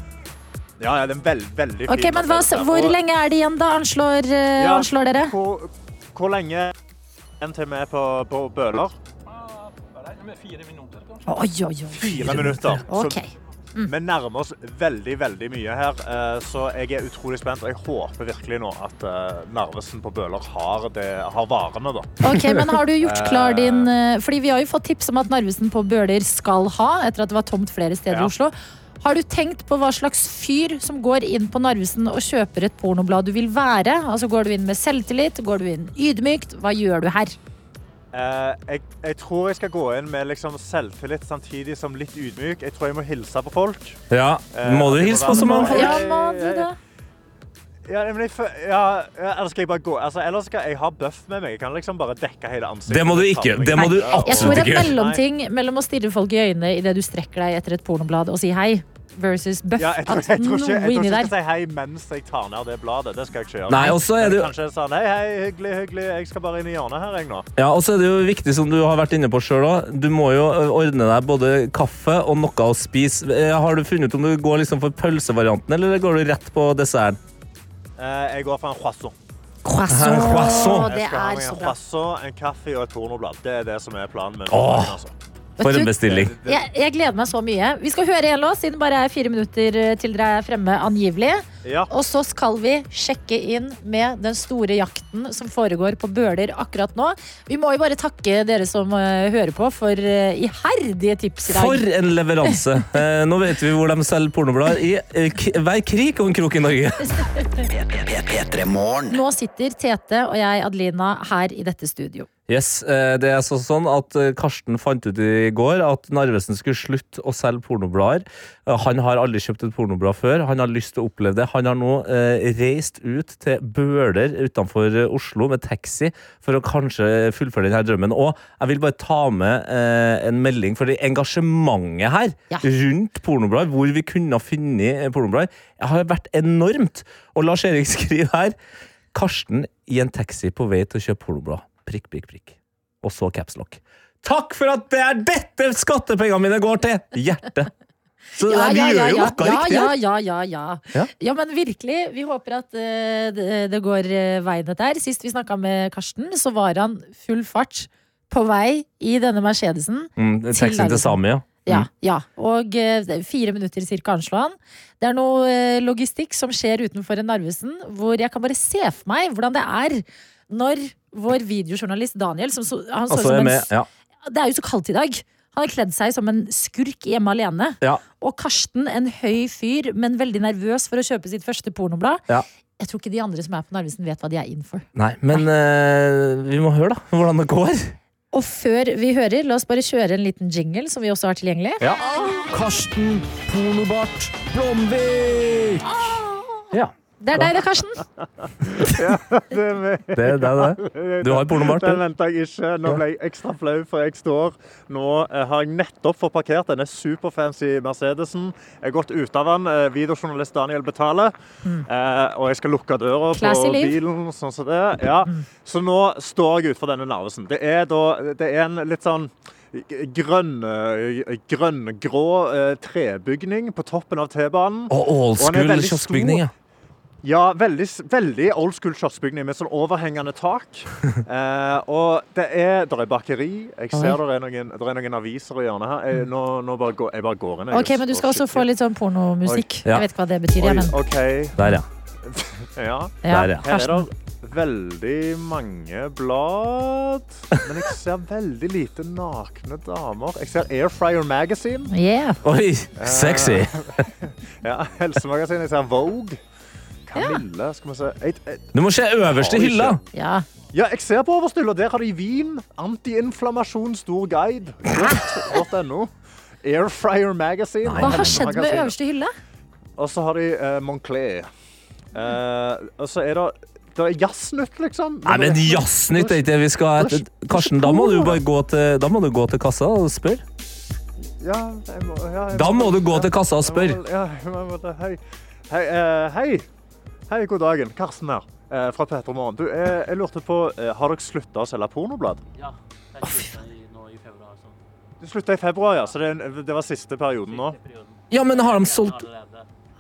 S5: Ja, ja, det er en veld, veldig fin.
S3: Ok, men hva,
S5: Mercedes,
S3: Hvor
S5: og-
S3: lenge er det igjen, da? Anslår, eh,
S5: Ja,
S3: anslår dere?
S5: Hvor, hvor lenge en til vi er på, på Bøler?
S3: Oi, oi, oi.
S5: Fire minutter. Så
S3: Ok.
S5: Vi nærmer oss veldig veldig mye her, eh, så jeg er utrolig spent. Og jeg håper virkelig nå at eh, Narvesen på Bøler har, det, har varene, da.
S3: Ok, men har du gjort klar
S5: Eh,
S3: din eh, Fordi vi har jo fått tips om at Narvesen på Bøler skal ha, etter at det var tomt flere steder i
S5: Ja.
S3: Oslo. Har du tenkt på hva slags fyr som går inn på Narvesen og kjøper et pornoblad du vil være? Altså Går du inn med selvtillit? Går du inn ydmykt? Hva gjør du her?
S5: Eh, jeg, jeg tror jeg skal gå inn med liksom selvtillit samtidig som litt ydmyk. Jeg tror jeg må hilse på folk.
S4: Ja, Må du hilse på så mange folk?
S3: Ja, må du det?
S5: Ja, men jeg, fø- ja, ja, eller skal jeg bare gå? Altså, eller skal jeg ha bøff med meg? Jeg kan liksom bare dekke hele ansiktet.
S4: Det må du ikke. Det må du
S5: Nei.
S3: Jeg tror en
S4: absolutt ikke.
S3: mellomting mellom å stirre folk i øynene idet du strekker deg etter et pornoblad og si hei, versus bøff.
S5: Ja, jeg tror, jeg tror ikke,
S3: At
S5: jeg tror
S3: noe
S5: ikke
S3: inni
S5: jeg
S3: der
S5: skal si hei mens jeg tar ned det bladet. Det skal jeg ikke gjøre.
S4: Nei, og så er
S5: Men
S4: det jo-
S5: Kanskje sånn, hei, hei, hyggelig, hyggelig, jeg skal bare inn i hjørnet her, jeg nå.
S4: Ja, og så er det jo viktig, som du har vært inne på sjøl òg, du må jo ø, ordne deg både kaffe og noe å spise. Eh, Har du funnet ut om du går liksom for pølsevarianten, eller går du rett på desserten?
S5: Eh, Jeg går for en croissant.
S4: Croissant. En croissant.
S5: Jeg skal ha
S4: Det er
S5: meg
S4: så
S5: en
S4: bra.
S5: croissant, en kaffe og et tornoblad. Det er det som er altså. planen min.
S4: Åh, for en bestilling.
S3: Jeg, jeg gleder meg så mye. Vi skal høre en låt, siden det bare er fire minutter eh, til dere er fremme angivelig.
S5: Ja.
S3: Og så skal vi sjekke inn med den store jakten som foregår på Bøler akkurat nå. Vi må jo bare takke dere som eh, hører på for eh, iherdige tips i dag.
S4: For en leveranse! Eh, Nå vet vi hvor de selger pornoblader i eh, k- hver krik og en krok i Norge.
S3: Nå sitter Tete og jeg, Adelina, her i dette studio.
S4: Yes, eh, det er så sånn at eh, Karsten fant ut i går at Narvesen skulle slutte å selge pornoblader. Eh, Han har aldri kjøpt et pornoblad før. Han har lyst til å oppleve det. Han har nå eh, reist ut til Bøler utenfor eh, Oslo med taxi for å kanskje eh, fullføre denne drømmen. Og jeg vil bare ta med eh, en melding, for det engasjementet her rundt pornoblader, hvor vi kunne ha funnet eh, pornoblader, har vært enormt. Og Lars-Erik skriver her Karsten i en taxi på vei til å kjøpe pornoblad. Prikk, prikk, prikk. Og så capslock. Takk for at det er dette skattepengene mine går til! Hjerte. Så det der, vi gjør jo
S3: ja,
S4: noe riktig.
S3: ja,
S4: her.
S3: ja, ja, ja.
S4: Ja.
S3: Ja, men virkelig. Vi håper at eh, det, det går eh, veien dette her. Sist vi snakka med Karsten, så var han full fart på vei i denne Mercedesen.
S4: Mm,
S3: Til liksom.
S4: Taxien til Mm. Sami, ja.
S3: Ja, ja. Og eh, det er fire minutter cirka anslo han. Det er noe eh, logistikk som skjer utenfor en Narvesen, hvor jeg kan bare se for meg hvordan det er når vår videojournalist Daniel som så, han så ut
S4: Altså,
S3: som
S4: jeg er
S3: en,
S4: med. Ja.
S3: Det er jo så kaldt i dag. Han har kledd seg som en skurk hjemme alene.
S4: Ja.
S3: Og Karsten, en høy fyr, men veldig nervøs for å kjøpe sitt første pornoblad.
S4: Ja.
S3: Jeg tror ikke de andre som er på Narvesen, vet hva de er in for.
S4: Nei, men eh, vi må høre, da, hvordan det går.
S3: Og før vi hører, la oss bare kjøre en liten jingle, som vi også har tilgjengelig.
S4: Ja. Karsten Pornobart Blomvik! Ja.
S3: Det er deg det, Karsten.
S5: Ja, det er meg.
S4: Det er deg, det. Du har pornobart, du.
S5: Den venta jeg ikke. Nå ble jeg ekstra flau, for jeg står Nå eh, har jeg nettopp fått parkert denne superfancy Mercedesen. Jeg har gått ut av den. eh, Videojournalist Daniel betaler.
S4: Mm.
S5: Eh, og jeg skal lukke døra
S12: Classy
S5: på
S12: liv.
S5: bilen, sånn som det. Ja.
S4: Mm.
S5: Så nå står jeg utenfor denne Narvesen. Det er da Det er en litt sånn Grønn, eh, grønn-grå eh, trebygning på toppen av T-banen.
S4: Og old
S5: den er
S4: school
S5: veldig stor.
S4: kioskbygning, ja.
S5: Ja, veldig, veldig old school kioskbygning med sånn overhengende tak. Eh, og det er, der er bakeri. Jeg ser
S3: Oi. Mm.
S5: der er, noen, der er noen aviser i hjørnet her. Jeg, nå, nå bare går, jeg bare går inn. jeg,
S3: Ok,
S5: og
S3: men du
S5: står
S3: skal også få litt sånn pornomusikk.
S5: Oi. Ja.
S3: Jeg vet ikke hva det betyr,
S5: Oi,
S3: jeg, men
S5: OK.
S4: Der, ja.
S5: Ja.
S3: Ja, Der, ja.
S5: Her er
S3: Karsten.
S5: det veldig mange blad, men jeg ser veldig lite nakne damer. Jeg ser Airfryer Magazine.
S3: Yeah.
S4: Oi, sexy.
S5: ja, helsemagasin. Jeg ser Vogue. Camilla, skal vi se. Jeg, jeg,
S4: Du må se øverst i
S5: Har
S4: hylla.
S5: ikke. Ja, jeg ser på øverste hylla. Der har de vin. Antiinflammasjon stor guide. Godt.no. Airfryer Magazine.
S3: Hva har skjedd med
S5: Magasinet.
S3: øverste hylle?
S5: Og så har de eh, Moncler. Eh, og så er det det er Jazznytt, liksom.
S4: Nei, men Jazznytt er ikke det vi skal Karsten, da må du bare gå til, da må du gå til kassa og spørre.
S5: Ja, jeg må, ja, jeg
S4: Da må du gå til kassa og spørre.
S5: Ja, jeg må, det. hei. Hei, eh, hei. Hei, god dagen. Karsten her, eh, fra Petter Morgen. Du, eh, jeg lurte på, eh, har dere sluttet å selge pornoblad?
S13: Ja, det slutta i nå i februar. altså. Så.
S5: Du sluttet i februar, ja, så det, er en- det var siste perioden nå.
S4: Ja, men har de solgt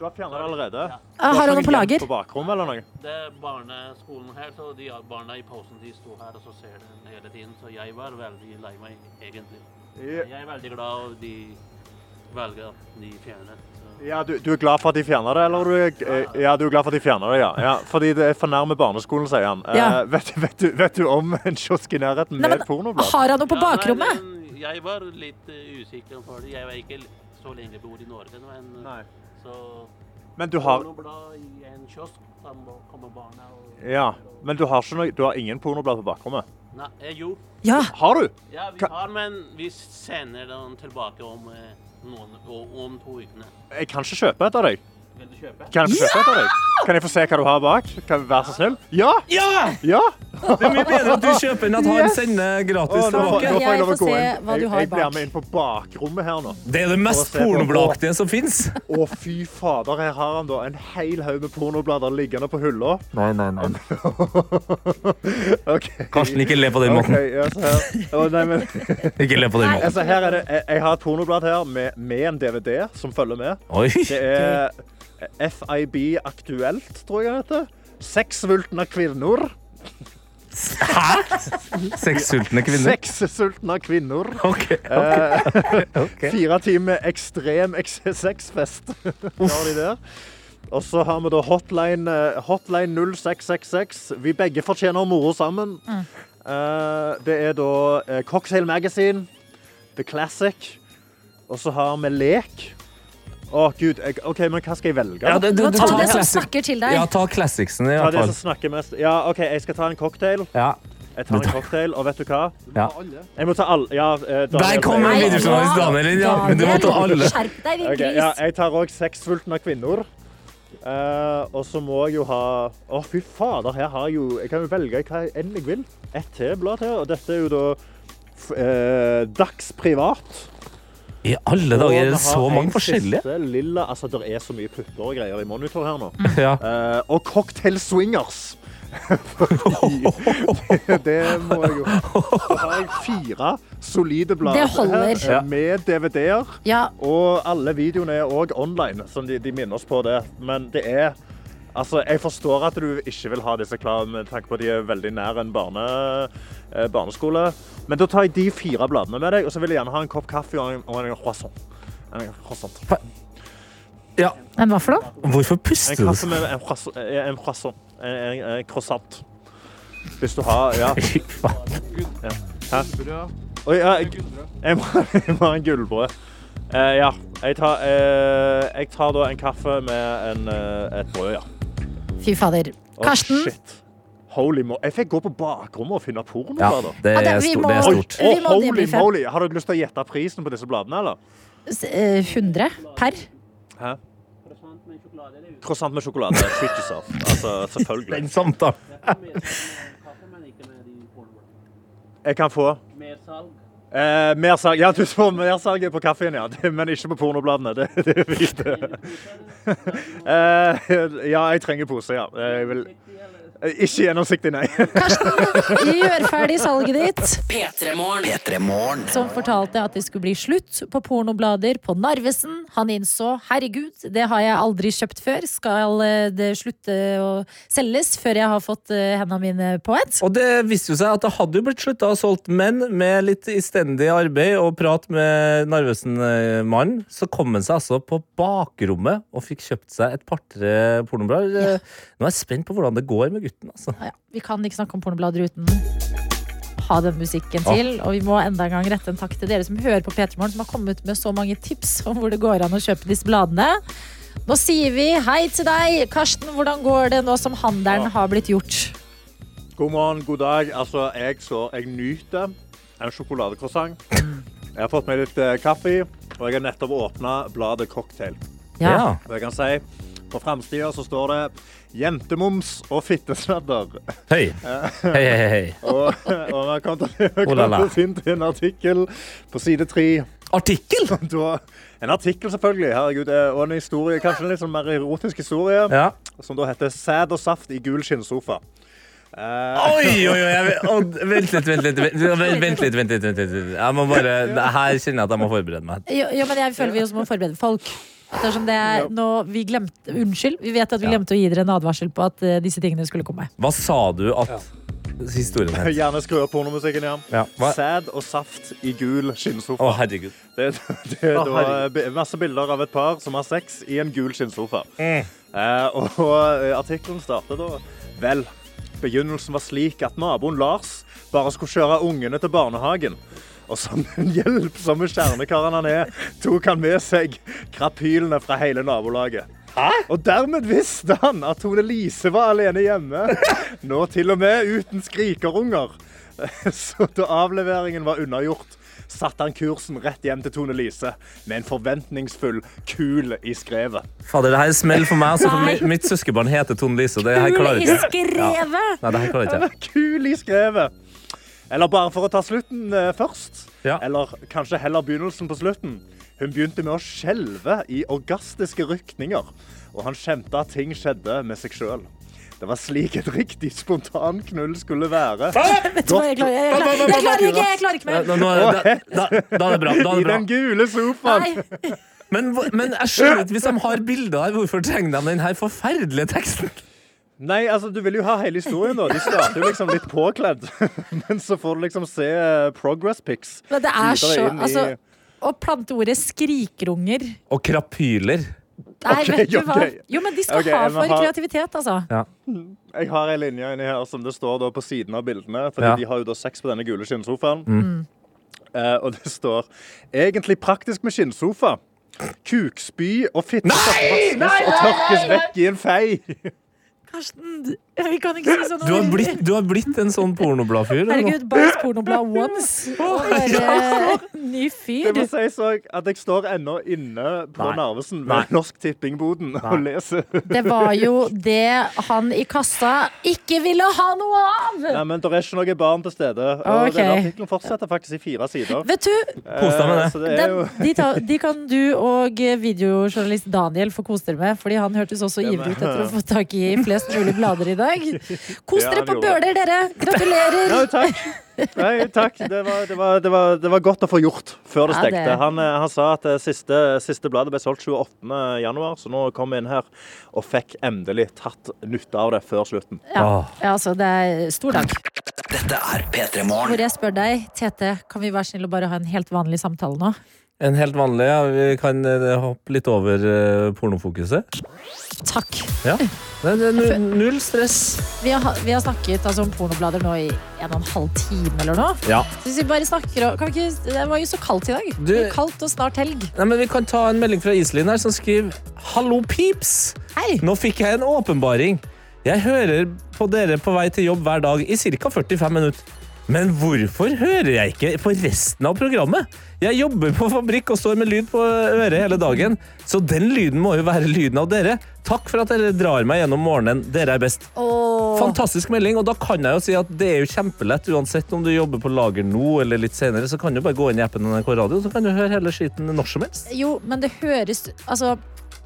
S5: Du har fjernet det allerede?
S3: Ah, har
S5: Du
S3: han
S5: ikke
S3: det på
S5: gjemt
S3: lager?
S5: På bakrommet eller noe?
S13: Det er barneskolen her, så de barna i pausen de sto her og så ser den hele tiden. Så jeg var veldig lei meg, egentlig. Jeg er veldig glad og de velger at de fjerner.
S5: Ja, du, du er glad for at de fjerner det, eller? Du er, eh, ja, du er glad for at de fjerner det, ja. ja. Fordi det er for nærme barneskolen, sier han. Eh,
S3: Ja.
S5: vet, vet, du, vet du om en kiosk i nærheten med et pornoblad?
S3: Har han noe på bakrommet?
S13: men jeg var litt eh, usikker for det. Jeg var ikke så lenge bor i Norge, men Nei. så
S5: Men du har-
S13: Pornoblad i en kiosk, da må- kommer barna og
S5: Ja, men du har, ikke noe, du har ingen pornoblad på bakrommet?
S13: Nei, eh, jo.
S5: Har du?
S13: Ja, vi har, men vi sender den tilbake om, eh, noen, o- om to ukene.
S5: Jeg kan ikke kjøpe et av deg.
S13: Vil du kjøpe?
S5: Kan jeg få kjøpe et av deg? Kan jeg få se hva du har bak? Kan Vær så snill. Ja!
S4: Ja!
S5: ja!
S4: Det er mye bedre at du kjøper enn at han
S5: Yes.
S4: sender gratis
S5: Å, nå får-
S4: tilbake.
S5: nå får jeg lov å
S3: Jeg får
S5: gå
S3: se
S5: inn.
S3: hva du
S5: Jeg,
S3: har
S5: jeg blir
S3: bak.
S5: med inn på bakrommet her nå.
S4: Det er det mest pornobladaktige som fins.
S5: Å, fy fader, her har han da en hel haug med pornoblader liggende på hylla.
S4: Nei, nei, nei.
S5: Ok.
S4: Karsten, ikke le på den måten.
S5: Ok, ja, så her. Å, nei, men...
S4: Ikke le på den måten.
S5: Altså, her er det, jeg, jeg har et pornoblad her med, med en DVD som følger med.
S4: Oi.
S5: Det er FIB Aktuelt, tror jeg det heter. Sexsultne kvinner. Hæ?
S4: Sexsultne kvinner?
S5: Sexsultne kvinner.
S4: Ok,
S5: Eh,
S4: ok.
S5: Fire timer ekstrem eks- sexfest. Da har de der. Og så har vi da hotline, eh, hotline 0666. Vi begge fortjener moro sammen. Eh, det er da eh, Cocktail Magazine, The Classic, og så har vi lek. Å, gud. Jeg, OK, men hva skal jeg velge?
S4: Ja, det-
S3: Du
S4: du-
S3: må ta det som snakker til deg.
S4: Ja, ta classicsen i
S5: Ta
S4: hvert
S5: det som
S4: fall.
S5: snakker mest. Ja, OK, jeg skal ta en cocktail.
S4: Ja.
S5: Jeg tar en cocktail, og vet du hva?
S4: Ja.
S5: Jeg må ta alle. Ja, eh,
S4: Der kom en videojournalist, Daniel. inn, Ja, men du må ta alle.
S3: Skjerp deg, din
S5: Ok,
S3: gris.
S5: ja, jeg tar òg sexsultne kvinner. Eh, og så må jeg jo ha Å, fy fader, her har jeg jo Jeg kan jo velge hva enn jeg vil. Ett til blad til. Og dette er jo da f eh, Dags Privat.
S4: I alle
S5: Og
S4: dager er
S5: vi
S4: det så
S5: har en
S4: mange forskjellige. Mm.
S5: siste Lilla, altså, det er så mye putter og greier i monitor her nå.
S4: Ja.
S5: Eh, og Cocktail Swingers. Fordi det må jeg jo. Så har jeg fire solide blader
S3: Det holder.
S5: her, eh, med DVD-er.
S3: Ja.
S5: Og alle videoene er òg online, som de, de minner oss på det. Men det er Altså, jeg forstår at du ikke vil ha disse klare med tanke på at de er veldig nær en barne, eh, barneskole. Men da tar jeg de fire bladene med deg, og så vil jeg gjerne ha en kopp kaffe og en, og en croissant. En croissant.
S3: Men hva for noe?
S4: Hvorfor
S5: En
S4: puster du
S5: kaffe
S4: sånn?
S5: med en croissant. eh, En, croissant. en, en, en croissant. Hvis du har Ja. ja. Hæ? Oi, ja, jeg, jeg, må, jeg må ha en gullbrød. Eh, ja. Jeg tar, eh, jeg tar da en kaffe med en, eh, et brød, ja.
S3: Fy fader.
S5: Å,
S3: Karsten.
S5: shit. Holy mo... Jeg fikk gå på bakrommet og finne porno.
S4: Ja,
S5: der, da.
S4: det er Ja, det- vi stort- det er må- stort.
S5: Oi,
S3: vi må
S5: å, holy
S3: debriefe.
S5: moly. Har dere lyst til å gjette prisen på disse bladene, eller?
S3: S- eh, 100 per?
S5: Hæ? Croissant med sjokolade. Treat yourself. Altså, selvfølgelig.
S4: Den samtalen.
S5: Jeg kan få
S13: Mer salg.
S5: Eh, mer salg. Ja, du får mer salg på kaffen, ja. Det- Men ikke på pornobladene. Det, det er fint. Eh, ja, jeg trenger pose, ja. Jeg vil... Eh, Ikke gjennomsiktig, nei.
S3: Gjør ferdig salget ditt.
S2: P3morgen.
S3: Som fortalte at det skulle bli slutt på pornoblader på Narvesen. Han innså herregud, det har jeg aldri kjøpt før. Skal eh, det slutte å selges før jeg har fått eh, hendene mine på et?
S4: Og det viste jo seg at det hadde jo blitt slutta å solgt, men med litt istendig arbeid og prat med Narvesen-mannen, så kom han seg altså på Eh, bakrommet og fikk kjøpt seg et par-tre pornoblader. Nå er jeg spent på hvordan det går med uten, altså.
S3: Ja, vi kan ikke snakke om pornoblader uten ha den musikken til. Og vi må enda en gang rette en takk til dere som hører på P3 Morgen, som har kommet med så mange tips om hvor det går an å kjøpe disse bladene. Nå sier vi hei til deg, Karsten. Hvordan går det nå som handelen har blitt gjort?
S5: God morgen, god dag. Altså, jeg, så, jeg nyter en sjokoladekrossant. Jeg har fått meg litt eh, kaffe, og jeg har nettopp åpna bladet Cocktail.
S3: Ja.
S5: Og jeg kan si, på framsida så står det 'Jentemoms og fittesladder'.
S4: Hei. Hei, hei, hei.
S5: og, og vi har kommet vi har
S4: Oh la la.
S5: kommet oss inn til en artikkel på side tre.
S4: Artikkel?
S5: En artikkel, selvfølgelig. Herregud, eh, og en historie, kanskje en litt sånn mer erotisk historie, som da heter 'Sæd og saft i gul skinnsofa'. Eh,
S4: Oi, oi, oi! Jeg, å, vent litt, vent litt. Vent, vent litt, vent litt, vent litt. Jeg må bare, her kjenner jeg at jeg må forberede meg.
S3: Jo, jo, men jeg føler vi også må forberede folk. Dersom det er nå vi glemte Unnskyld, vi vet at vi glemte å gi dere en advarsel på at eh, disse tingene skulle komme.
S4: Hva sa du at historien het?
S5: Gjerne skru opp pornomusikken igjen.
S4: Ja, hva-
S5: Sæd og saft i gul skinnsofa.
S4: Å, herregud.
S5: Det, det er
S4: Å,
S5: da
S4: herregud.
S5: bi- masse bilder av et par som har sex i en gul skinnsofa.
S4: Mm.
S5: Eh, og eh, artikkelen starter da Vel, begynnelsen var slik at naboen Lars bare skulle kjøre ungene til barnehagen. Og som den hjelpsomme kjernekaren han er, tok han med seg krapylene fra hele nabolaget. Og dermed visste han at Tone Lise var alene hjemme. Nå til og med uten skrikerunger. Så da avleveringen var unnagjort, satte han kursen rett hjem til Tone Lise med en forventningsfull kul i skrevet.
S4: Fader, det her er smell for meg. Altså, for
S5: Nei.
S4: mi- mitt søskenbarn heter Tone Lise. og Det her klarer jeg ikke. Ja. Nei, det her klarer jeg ikke.
S5: Kul i skrevet. Eller bare for å ta slutten eh, først. Eller kanskje heller begynnelsen på slutten. Hun begynte med å skjelve i orgastiske rykninger, og han kjente at ting skjedde med seg sjøl. Det var slik et riktig spontan knull skulle være.
S3: Vet du hva, jeg klarer- jeg klarer- jeg klarer ikke, jeg klarer ikke mer.
S4: Nå- nå er det- da- da- da er det bra, da er det
S5: I
S4: bra.
S5: den gule sofaen.
S4: Men, hvor- men jeg skjønner ikke, hvis de har bilder her, hvorfor trenger de den her forferdelige teksten?
S5: Nei, altså, du vil jo ha hele historien, da. De starter jo liksom litt påkledd. Men så får du liksom se eh, progress pics.
S3: Men det er
S5: videre
S3: så
S5: inn i-
S3: Altså, å plante ordet skrikerunger
S4: Og krapyler.
S3: Nei,
S5: Ok,
S3: vet du hva.
S5: ok.
S3: Jo, men de skal
S5: Ok,
S3: ha
S5: jeg må
S3: for
S5: ha-
S3: kreativitet, altså.
S5: Jeg har ei linje inni her som det står da på siden av bildene. Fordi
S4: Ja.
S5: de har jo da sex på denne gule skinnsofaen.
S4: Mm.
S5: Eh, og det står egentlig praktisk med skinnsofa. Kukspy og fitte skal vaskes
S3: Nei, nei,
S5: og
S3: nei,
S5: tørkes
S3: nei.
S5: vekk i en fei.
S3: Karsten, vi kan ikke si sånne
S4: Du har blitt, du har blitt en sånn pornobladfyr. du, nå.
S3: Herregud, Bars pornoblad once. Og
S5: Ja,
S3: være ny
S5: Det
S3: fyr.
S5: må sies òg at jeg står ennå inne på
S4: Nei.
S5: Narvesen
S4: Nei.
S5: ved Norsk Tippingboden og leser.
S3: Det var jo det han i kassa ikke ville ha noe av!
S5: Nei, men det er ikke noe barn til stede. Og
S3: Ok.
S5: denne artikkelen fortsetter faktisk i fire sider.
S3: Vet du,
S4: Kos deg med det.
S5: Eh, så det er jo-
S3: den, de, ta, de kan du og videojournalist Daniel få kose dere med, fordi han hørtes også ivrig ut etter å få tak i flest mulig blader i dag. Kos
S5: Ja,
S3: dere
S5: han
S3: på
S5: gjorde
S3: Bøler, dere! Gratulerer!
S5: Ja, takk. Nei, takk. Det var, det, var, det, var, det var godt å få gjort før det
S3: Ja, det-
S5: stengte. Han, eh, han sa at det siste, siste bladet ble solgt 28. januar, så nå kom vi inn her og fikk endelig tatt nytte av det før slutten.
S3: Ja, ja altså, det er stor dag.
S1: Dette er P3 Morgen.
S3: Hvor jeg spør deg, Tete, kan vi være snill og bare ha en helt vanlig samtale nå?
S4: En helt vanlig, ja. Vi kan eh, hoppe litt over eh, pornofokuset.
S3: Takk.
S4: Ja. Nei, det er nu- null stress.
S3: Vi har, vi har snakket altså, om pornoblader nå i en og en halv time eller noe.
S4: Ja.
S3: Så hvis vi bare snakker om kan vi ikke, Det var jo så kaldt i dag.
S4: Du-
S3: Det er Kaldt og snart helg.
S4: Nei, men vi kan ta en melding fra Iselin her som skriver Hallo, peeps! Nå fikk jeg en åpenbaring. Jeg hører på dere på vei til jobb hver dag i ca. 45 minutter. Men hvorfor hører jeg ikke på resten av programmet? Jeg jobber på fabrikk og står med lyd på øret hele dagen, så den lyden må jo være lyden av dere. Takk for at dere drar meg gjennom morgenen. Dere er best. Fantastisk melding, og da kan jeg jo si at det er jo kjempelett. Uansett om du jobber på lager nå eller litt senere, så kan du bare gå inn i appen NRK Radio, så kan du høre hele skiten når som helst.
S3: Jo, men det høres Altså,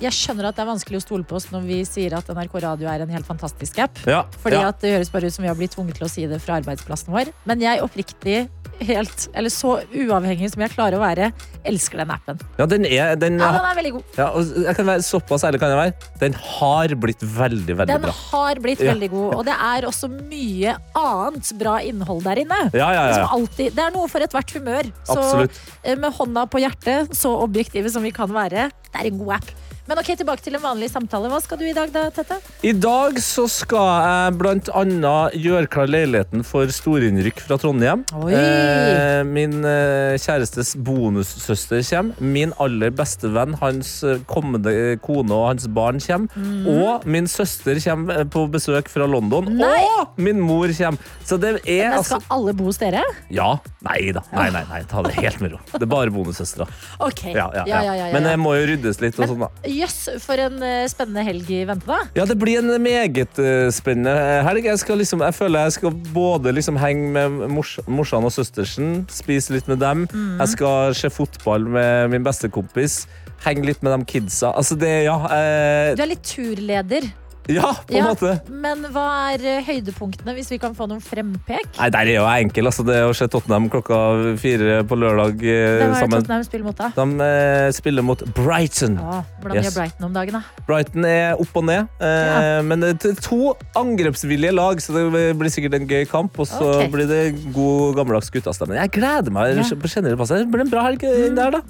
S3: jeg skjønner at det er vanskelig å stole på oss når vi sier at NRK Radio er en helt fantastisk app.
S4: Ja,
S3: Fordi
S4: ja.
S3: at det høres bare ut som vi har blitt tvunget til å si det fra arbeidsplassen vår. Men jeg oppriktig, helt, eller så uavhengig som jeg klarer å være, elsker den appen.
S4: Ja, den er, den,
S3: Ja, den er veldig god.
S4: Ja, og jeg kan være, såpass ærlig kan jeg være. Den har blitt veldig, veldig
S3: Den
S4: bra.
S3: har blitt
S4: Ja.
S3: veldig god, og det er også mye annet bra innhold der inne.
S4: Ja, ja, ja.
S3: Som alltid, det er noe for ethvert humør. Så
S4: Absolutt.
S3: eh, med hånda på hjertet, så objektive som vi kan være, det er en god app. Men ok, tilbake til en vanlig samtale. Hva skal du i dag da, Tette?
S4: I dag så skal jeg blant annet gjøre klar leiligheten for storinnrykk fra Trondheim.
S3: Oi.
S4: Eh, min eh, kjærestes bonussøster kommer. Min aller beste venn, hans eh, kommende eh, kone og hans barn kommer.
S14: Mm.
S4: Og min søster kommer eh, på besøk fra London. Og min mor kommer. Så det er
S3: Men
S4: altså
S3: skal alle bo hos dere?
S4: Ja. Nei da. Nei, nei, nei. Ta det helt med ro. Det er bare bonussøstre.
S3: Ok.
S4: Ja, ja,
S3: Ja, ja, ja, ja,
S4: Men
S3: ja.
S4: det må jo ryddes litt og
S3: Men-
S4: sånn, da.
S3: Jøss, for en eh, spennende helg i vente, da.
S4: Ja, det blir en meget eh, spennende helg. Jeg, skal liksom, jeg føler jeg skal både liksom henge med mors, morsan og søstersen, spise litt med dem.
S3: Mhm.
S4: Jeg skal se fotball med min beste kompis. Henge litt med de kidsa. Altså, det Ja, eh,
S3: Du er litt turleder.
S4: ja på en
S3: Ja,
S4: måte.
S3: Men hva er eh, høydepunktene, hvis vi kan få noen frempek?
S4: Nei, der er jo jeg enkel. Altså, det å se Tottenham klokka fire på lørdag eh,
S3: Hvem er det
S4: sammen.
S3: Tottenham spiller mot, da?
S4: De eh, spiller mot Brighton.
S3: Ja, Hvordan gjør
S4: Yes.
S3: Brighton om dagen, da?
S4: Brighton er opp og ned, eh, men det er to angrepsvillige lag, så det blir sikkert en gøy kamp. Og så
S3: Ok.
S4: blir det god gammeldags guttastemning. Jeg gleder meg.
S3: Ja. Mm.
S4: på generell basis. Det blir en bra helg eh, der, da.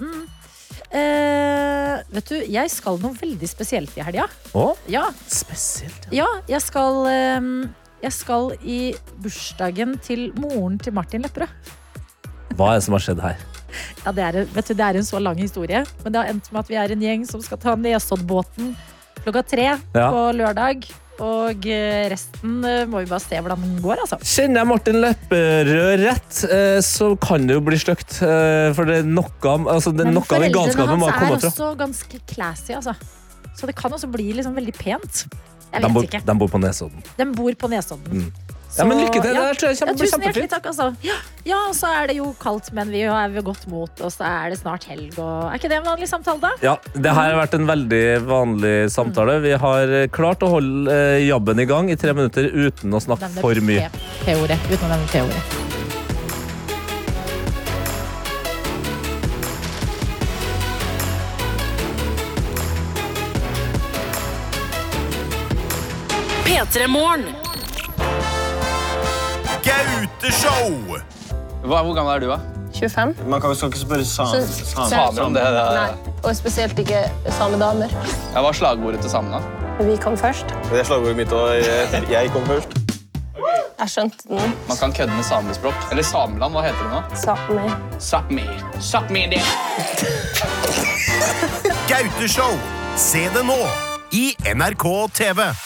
S3: Eh, vet du, jeg skal noe veldig spesielt i helga.
S4: Å?
S3: Ja.
S4: Spesielt.
S3: ja, jeg skal eh, Jeg skal i bursdagen til moren til Martin Lepperød.
S4: Hva er det som har skjedd her?
S3: Ja, det, er, vet du, det er en så lang historie, men det har endt med at vi er en gjeng som skal ta Nesoddbåten klokka tre
S4: Ja.
S3: på lørdag. Og eh, resten eh, må vi bare se hvordan den går, altså.
S4: Kjenner jeg Martin Lepperød rett, eh, så kan det jo bli stygt. eh, For det er noe av altså, det er
S3: Men
S4: noe av den galskapen må
S3: Foreldrene
S4: komme
S3: hans er
S4: fra.
S3: også ganske classy, altså. Så det kan også bli liksom veldig pent. Jeg
S4: De
S3: vet
S4: bor,
S3: ikke.
S4: de bor på Nesodden.
S3: De bor på Nesodden.
S4: Mm. Ja, men lykke til. Det her tror jeg kommer til å bli
S3: Tusen hjertelig
S4: kjempefint.
S3: takk, altså. Ja, ja, og så er det jo kaldt, men vi er ved godt mot, og så er det snart helg, og Er ikke det en vanlig samtale, da?
S4: Ja, det her har vært en veldig vanlig samtale. Vi har eh, klart å holde eh, jabben i gang i tre minutter uten å snakke
S3: Nevne
S4: for mye.
S3: P- P-ordet. Uten å nevne P-ordet.
S2: P3-morgen.
S15: Gauteshow! hvor gammel er du, da?
S16: 25.
S15: Man skal ikke spørre
S16: Så-
S15: samer om det. det er-
S16: Nei, og spesielt ikke samedamer.
S15: Ja, hva er slagordet til samene?
S16: Vi kom først.
S15: Det er slagordet mitt, og jeg, kom først.
S16: Jeg skjønte den.
S15: Man kan kødde med samespråk. Eller Sameland, hva heter det nå?
S16: Sápmi.
S15: Sápmi. Sápmi det.
S17: Gauteshow. Se det nå i NRK TV.